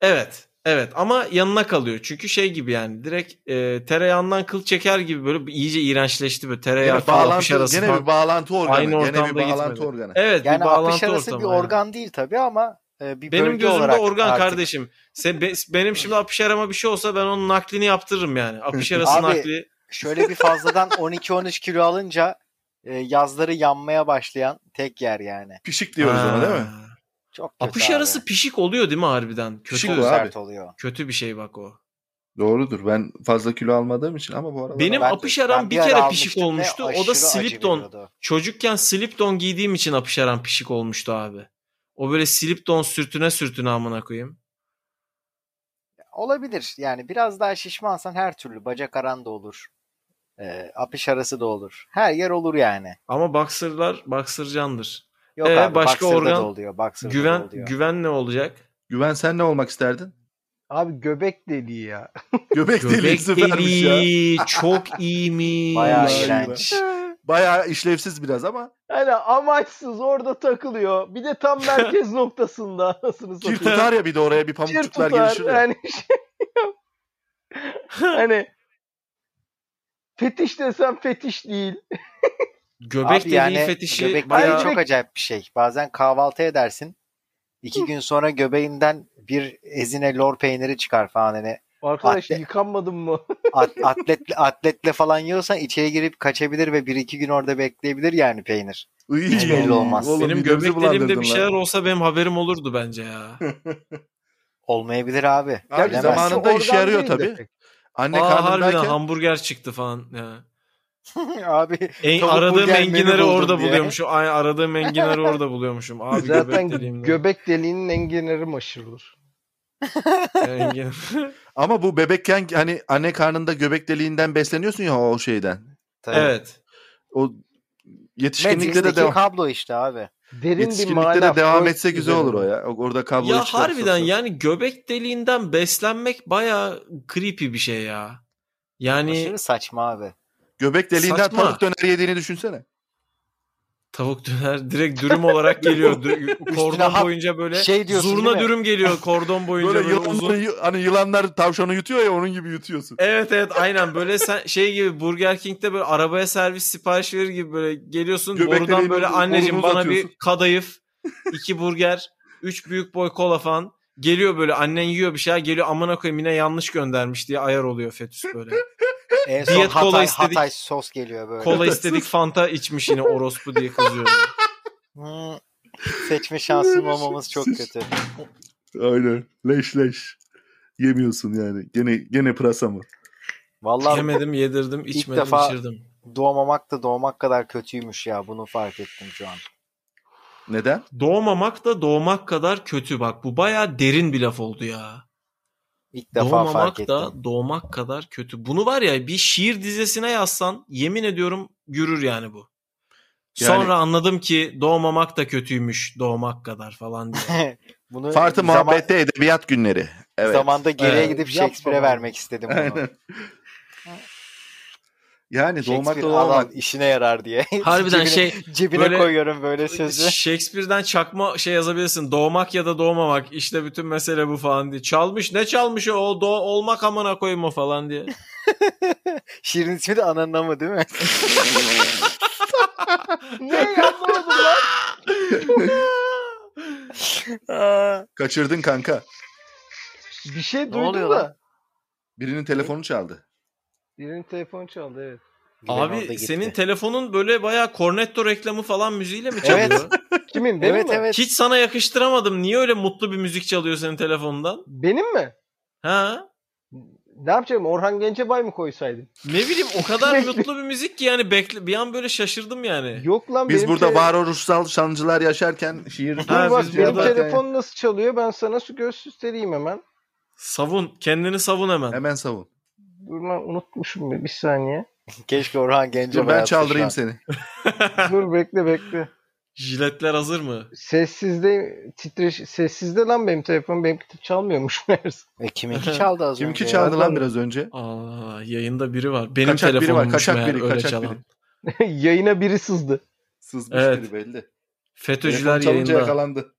C: Evet. Evet ama yanına kalıyor. Çünkü şey gibi yani direkt e, tereyağından kıl çeker gibi böyle iyice iğrençleşti böyle
B: Gene
C: tereyağı kıl apış
B: bağlantı,
C: arası
B: gene
C: falan.
B: bir bağlantı organı.
C: Aynı
B: gene bir
C: ortamda
B: bağlantı
C: gitmedi.
B: organı.
C: Evet
A: Yani
C: bir bağlantı
A: apış arası
C: ortamı
A: bir
C: yani.
A: organ değil tabii ama e, bir
C: Benim
A: bölge
C: gözümde
A: olarak
C: organ
A: artık.
C: kardeşim. Sen, be- benim şimdi apış arama bir şey olsa ben onun naklini yaptırırım yani.
B: (laughs)
C: Apış arası
A: Abi,
C: nakli.
A: (laughs) Şöyle bir
C: (laughs)
A: fazladan 12-13 kilo alınca e, yazları yanmaya başlayan tek yer yani.
B: Pişik diyoruz ona değil mi?
C: Ha.
A: Çok kötü
C: Apış
A: abi.
C: arası pişik oluyor değil mi harbiden? Kötü.
B: Pişik
A: çok
B: oluyor.
A: sert
B: abi.
A: oluyor.
C: Kötü bir şey bak o.
B: Doğrudur. Ben fazla kilo almadığım için ama bu arada
C: Benim
A: Ben-
C: apış aram
A: ben
C: bir kere
A: ara
C: pişik
A: almıştım ve
C: olmuştu. O da
A: aşırı acı
C: Slipton.
A: veriyordu.
C: Çocukken slip-don giydiğim için apış aram pişik olmuştu abi. O böyle slip-don sürtüne sürtüne amına koyayım.
A: Olabilir. Yani biraz daha şişmansan her türlü bacak aran da olur. E, apış arası da olur. Her yer olur yani.
C: Ama boxer'lar boxer'candır.
A: Yok
C: Ee,
A: abi,
C: başka
A: başka
C: organ-
A: da oluyor. Boxer'da da
C: Güven
A: oluyor.
C: güven
A: (laughs)
C: ne olacak?
B: Güven sen ne olmak isterdin?
D: Abi göbek deliği (laughs) ya.
B: Göbek deliği
C: Göbek
B: süpermiş ya.
C: deliği çok iyiymiş.
A: Bayağı
B: Vallahi
A: iğrenç.
B: Bayağı işlevsiz biraz ama
D: Hani amaçsız orada takılıyor. Bir de tam (laughs) merkez noktasında. Nasıl
B: kir tutar ya bir de oraya bir pamukçuklar gelişir ya.
D: Yani şey (laughs) yap. hani fetiş desem fetiş değil.
C: Göbek
A: Abi
C: deliği
A: yani
C: fetişi
A: göbek deliği
C: bayağı
A: çok acayip bir şey. Bazen kahvaltı edersin. iki gün sonra göbeğinden bir ezine lor peyniri çıkar falan. Hani
D: Arkadaş
A: Atlet-
D: yıkanmadın mı?
A: at- atletle, atletle falan yiyorsan içeri girip kaçabilir ve bir iki gün orada bekleyebilir yani peynir.
B: Iy,
A: Hiç belli olmaz.
B: oğlum
C: benim
B: midemizi
C: göbeklerimde
B: bulandırdın
C: bir
B: lan.
C: şeyler olsa benim haberim olurdu
A: (laughs)
C: bence ya.
A: Olmayabilir abi.
B: Abi
A: Bilemezsin.
B: zamanı- zamanında işe
D: Organ
B: yarıyor
D: değil
B: tabii.
D: de pek.
B: Anne
C: Aa harbiden
B: karnındayken
C: hamburger çıktı falan. Ya.
A: abi
C: En,
A: Tavuk
C: aradığım
A: burger menü
C: enginarı
A: buldum
C: orada
A: diye.
C: buluyormuşum. Ay, aradığım enginarı orada buluyormuşum. Abi
D: Zaten
C: göbek deliğimde.
D: göbek deliğinin enginleri maşırdır.
C: Engin-
B: ama bu bebekken hani anne karnında göbek deliğinden besleniyorsun ya o şeyden.
A: tabii.
C: (laughs) evet.
B: O yetişkinlikte de
A: Matrix'teki
B: devam.
A: kablo işte abi.
D: Derin bir
B: Yetişkinlikte
D: mana.
B: de devam
D: Freud
B: etse güzel
D: üzerine.
B: olur o ya. O- Orada kablo
C: Ya
B: çıkarsa-
C: harbiden yani göbek deliğinden beslenmek baya creepy bir şey ya. Yani
A: Aşırı saçma abi.
B: Göbek deliğinden
C: Saçma.
B: tavuk döner yediğini düşünsene.
C: tavuk döner direkt dürüm olarak geliyor.
A: (laughs)
C: Dü- kordon
A: hap-
C: boyunca böyle
A: şey diyorsun değil
C: zurna
A: mi?
C: dürüm
A: (laughs)
C: geliyor kordon boyunca
B: Böyle
C: böyle,
B: yılanları,
C: uzun.
B: yu- hani yılanlar tavşanı yutuyor ya onun gibi yutuyorsun.
C: Evet evet aynen böyle sen şey gibi Burger King'de böyle arabaya servis sipariş verir gibi böyle geliyorsun
B: Göbek
C: borudan
B: deliğinin
C: böyle
B: ucu-
C: anneciğim
B: burnunu
C: bana bir
B: uzatıyorsun."
A: (laughs)
C: kadayıf, iki burger, üç büyük boy kola falan. Geliyor böyle annen yiyor bir şeyler geliyor amına koyayım yine yanlış göndermiş diye ayar oluyor fetüs böyle.
A: En son
C: Diyet kola
A: Hatay,
C: istedik.
A: Hatay sos geliyor böyle. (laughs)
C: Kola istedik Fanta içmiş yine orospu diye kızıyorum.
A: Hmm, Seçme şansım olmaması çok kötü.
B: Aynen. Leş leş. Yemiyorsun yani. Gene gene pırasa mı?
A: Vallahi
C: Yemedim yedirdim içmedim
A: defa-
C: içirdim.
A: doğmamak da doğmak kadar kötüymüş ya. Bunu fark ettim şu an.
B: Neden?
C: Doğmamak da doğmak kadar kötü bak bu baya derin bir laf oldu ya.
A: İlk defa fark
C: doğmamak
A: ettim.
C: da doğmak kadar kötü. Bunu var ya bir şiir dizesine yazsan yemin ediyorum yürür yani bu.
B: Yani-
C: Sonra anladım ki doğmamak da kötüymüş doğmak kadar falan diye.
A: (laughs) Bunu
B: Fartı
A: zaman-
B: muhabbette edebiyat günleri. Evet.
A: Zamanda geriye
C: Evet.
A: gidip
D: Yapma
A: Shakespeare'e
D: bunu.
A: vermek istedim bunu.
B: Aynen. Yani doğmak da
A: Shakespeare
B: doğmak.
A: alan işine yarar diye.
C: (laughs)
A: (laughs)
C: Harbiden
A: cebine,
C: şey
A: cebine
C: böyle-
A: koyuyorum böyle sözü.
C: Shakespeare'den çakma şey yazabilirsin. Doğmak ya da doğmamak işte bütün mesele bu falan diye. Çalmış ne çalmış o, o do- olmak amına koyma
A: (laughs)
C: falan diye.
A: Şiirin ismi de ananın ama
C: (laughs)
A: değil mi?
D: Ne yapmadım lan?
B: Kaçırdın kanka.
D: Bir şey duydum
A: oluyor
D: da.
A: lan?
B: Birinin telefonu çaldı.
D: Birinin telefonu çaldı evet.
A: Güven orada
C: Abi
A: gitti.
C: senin telefonun böyle bayağı kornetto reklamı falan müziğiyle mi çalıyor?
A: Evet.
D: Kimin? Benim
A: Evet
D: mi?
A: evet.
C: Hiç sana yakıştıramadım. Niye öyle mutlu bir müzik çalıyor senin telefondan?
D: Benim mi?
C: Ha?
D: Ne yapacağım? Orhan Gencebay mı koysaydım?
C: Ne bileyim o
B: (laughs)
C: kadar mutlu bir müzik ki yani bekle, bir an böyle şaşırdım yani.
D: Yok lan
B: Biz
D: benim
B: burada
D: tele-
B: varoluşsal şancılar yaşarken şiir
D: Dur
C: Ha,
D: bak
C: biz
D: benim
C: burada-
D: telefon nasıl çalıyor ben sana su göstereyim hemen.
C: Savun kendini savun hemen.
B: Hemen savun.
D: Dur lan unutmuşum bir, bir saniye.
A: Keşke Orhan Gencebay
B: Dur ben
A: yapsa şu
B: çaldırayım
A: an.
B: seni.
D: Dur bekle bekle.
C: Jiletler hazır mı?
D: Sessizde titreş sessizde lan benim telefonum benimki de çalmıyormuş (laughs) meğerse.
A: E, kiminki çaldı az önce?
B: Kimki
A: ya?
B: çaldı lan biraz önce?
C: Aa yayında biri var. Benim
B: Kaçak biri
C: telefonummuş
B: var, kaçak
C: meğer
B: biri,
C: öyle
B: kaçak
C: çalan.
B: biri.
D: (laughs) Yayına biri sızdı.
B: Sızmış
C: Evet.
B: biri belli.
C: FETÖ'cüler
B: Telefon çalınca
C: yayında.
B: yakalandı.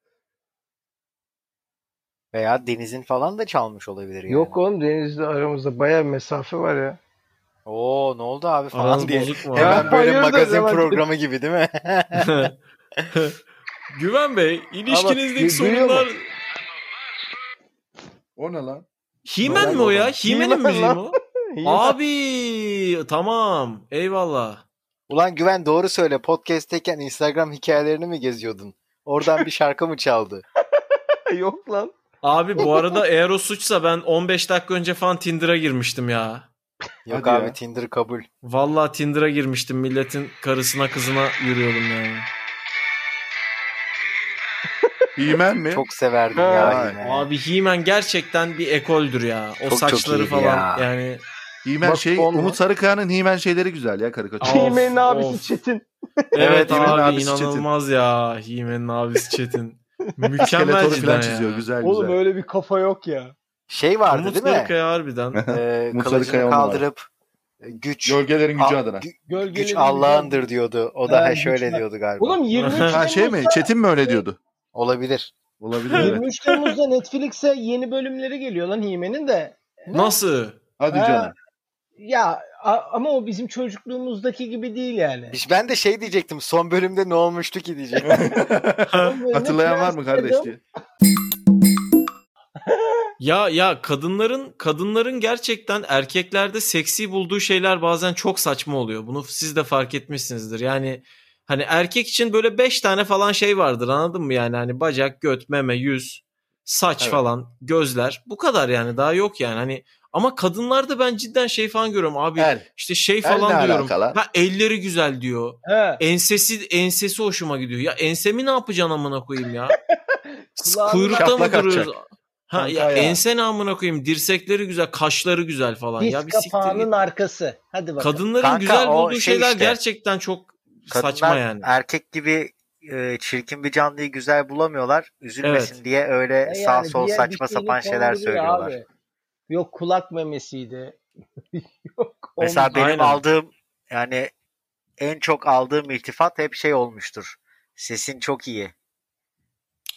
A: Veya Deniz'in falan da çalmış olabilir yani.
D: Yok oğlum denizde aramızda bayağı bir mesafe var ya. (laughs)
A: Oo ne oldu abi falan
C: Aranız
A: diye.
C: bozuk mu? abi?
A: Hemen böyle
D: Hayırdır,
A: magazin
D: hemen-
A: programı gibi değil mi? (laughs)
C: (laughs) Güven Bey,
D: Ama
C: ilişkinizdeki
D: du- duyuyor mu?
C: sorunlar...
B: O ne lan?
C: Himen
B: Doğru,
C: mi o ya?
B: doğru.
C: Himen'in
D: He-Man
C: müziği
D: lan.
C: mi o? Abi tamam. Eyvallah.
A: Ulan Güven doğru söyle. Podcast'teyken Instagram hikayelerini mi geziyordun? Oradan bir şarkı mı çaldı?
D: (laughs) Yok lan.
C: Abi bu arada eğer o suçsa ben 15 dakika önce falan Tinder'a girmiştim ya.
A: Yok
B: (laughs) Hadi
A: abi
B: ya.
A: Tinder kabul.
C: Vallahi Tinder'a girmiştim. Milletin karısına kızına yürüyordum yani.
B: İmen mi?
A: Çok severdim
D: Ha.
A: ya yine.
C: Abi Himen gerçekten bir ekoldür ya. O
A: Çok, çok
C: saçları
A: iyiydi
C: falan
A: ya.
C: yani.
B: Himen
D: Bak,
B: şey
D: olma.
B: Umut Sarıkaya'nın Himen şeyleri güzel ya karikatür.
C: Of,
D: Hime'nin abisi
C: of.
D: Çetin.
C: Evet,
B: He-Man'in
C: abi
B: abisi
C: inanılmaz ya. Himen'in abisi Çetin. Mükemmel
B: Skeletoru
C: cidden
B: falan
C: ya.
B: çiziyor güzel
D: Oğlum
B: güzel.
D: öyle bir kafa yok ya.
A: Şey vardı
C: Umut
A: değil mi?
C: Sarıkaya
B: (laughs)
C: harbiden.
A: Ee,
B: Umut Sarıkaya
A: kılıcını
B: onun var.
A: kaldırıp e, güç
B: Gölgelerin gücü
A: Al-
B: adına.
A: gü-
D: Gölgeleri
A: güç Allah'ındır
D: bilmem.
A: diyordu. O da
C: Ee,
D: Ha,
A: ha, şöyle
D: güçler.
A: diyordu galiba.
B: (laughs)
D: Oğlum 23
B: Ha
D: Temmuz'da,
B: şey mi? Çetin mi öyle diyordu?
A: Olabilir.
B: Olabilir evet.
D: 23 Temmuz'da Netflix'e yeni bölümleri geliyor lan Hime'nin de.
C: Nasıl?
B: Hadi
D: Ha. (laughs)
B: canım.
D: Ya a- ama o bizim çocukluğumuzdaki gibi değil yani.
A: Hiç- Ben de şey diyecektim. Son bölümde ne olmuştu ki diyecektim.
B: şey Hatırlayan var mı kardeş diye.
C: Ya ya kadınların kadınların gerçekten erkeklerde seksi bulduğu şeyler bazen çok saçma oluyor. Bunu siz de fark etmişsinizdir. Yani hani erkek için böyle 5 tane falan şey vardır anladın mı? Yani hani bacak, göt, meme, yüz, saç
B: Evet.
C: falan, gözler. Bu kadar yani daha yok yani. Hani ama kadınlarda ben cidden şey falan görüyorum abi.
B: El.
C: işte şey
B: El ne
C: falan diyorum.
B: alaka lan?
C: Ha elleri güzel diyor.
D: He.
C: Ensesi ensesi hoşuma gidiyor. Ya ensemi ne yapacaksın amına koyayım
A: (laughs)
C: ya?
D: Kulağına-
C: Kuyrukta mı
B: Şaplak
C: duruyoruz?
B: atacak.
C: Ha
B: Kanka
C: ya
B: ya.
C: ense ne amına koyayım? Dirsekleri güzel, kaşları güzel falan.
D: Diz
C: ya bir siktir.
D: kapağının
C: git.
D: arkası. Hadi bakalım.
C: Kadınların
A: Kanka,
C: güzel
A: o
C: bulduğu
A: şey
C: şeyler
A: işte.
C: gerçekten çok
A: Kadınlar
C: saçma yani.
A: erkek gibi e, çirkin bir canlıyı güzel bulamıyorlar. Üzülmesin
C: Evet. E
A: diye öyle
D: Ya
A: E, sağ
D: E, yani
A: sol
D: diğer
A: saçma
D: bir şeyini
A: sapan şeyler
D: konduruyor
A: söylüyorlar.
D: abi. Yok kulak memesiydi. (laughs) Yok
A: Mesela
D: omuz-
A: benim
C: Aynen.
A: aldığım yani en çok aldığım iltifat hep şey olmuştur. Sesin çok iyi.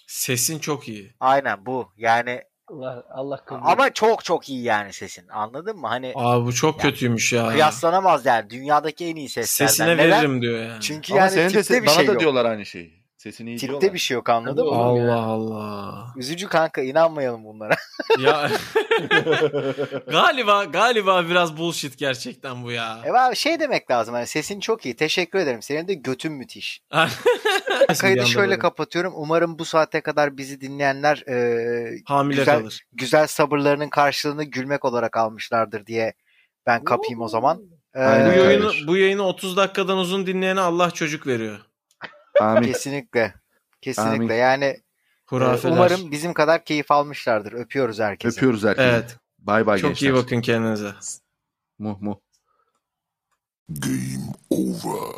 C: Sesin çok iyi.
A: Aynen bu. Yani
D: Allah, Allah kabul etsin.
A: ama çok çok iyi yani sesin. Anladın mı? Hani
C: Aa bu çok
A: Ya,
C: kötüymüş ya.
A: kıyaslanamaz yani. Dünyadaki en iyi seslerden.
C: Sesine
A: Neden?
C: veririm diyor yani.
A: Çünkü
B: Ama
A: yani
B: senin de
A: tipte
B: se-
A: bir
B: bana
A: şey
B: da
A: yok.
B: diyorlar aynı şeyi. Sesini iyi diyorlar.
A: Tipte bir şey yok anladın mı?
D: Oğlum ya.
C: Allah Allah.
A: Üzücü kanka inanmayalım
C: (laughs)
A: bunlara. (laughs)
C: ya galiba galiba biraz bullshit gerçekten bu ya.
A: E abi şey demek lazım hani sesin çok iyi teşekkür ederim senin de götün müthiş. Kaydı
C: Bir
A: şöyle
C: yandan
A: kapatıyorum umarım bu saate kadar bizi dinleyenler e,
C: hamile
A: Güzel-
C: kalır.
A: güzel sabırlarının karşılığını gülmek olarak almışlardır diye ben kapayım o zaman. E,
B: Aynen.
C: Bu
B: Evet.
C: yayını bu yayını 30 dakikadan uzun dinleyene Allah çocuk veriyor.
B: Amin.
A: kesinlikle. Kesinlikle.
B: Amin.
A: Yani e,
C: Hurafeler.
A: umarım bizim kadar keyif almışlardır. Öpüyoruz herkese.
B: Öpüyoruz herkese.
C: Evet.
B: Bay bay
C: Çok
B: gençler.
C: iyi bakın kendinize.
B: Muh muh.
E: Game over.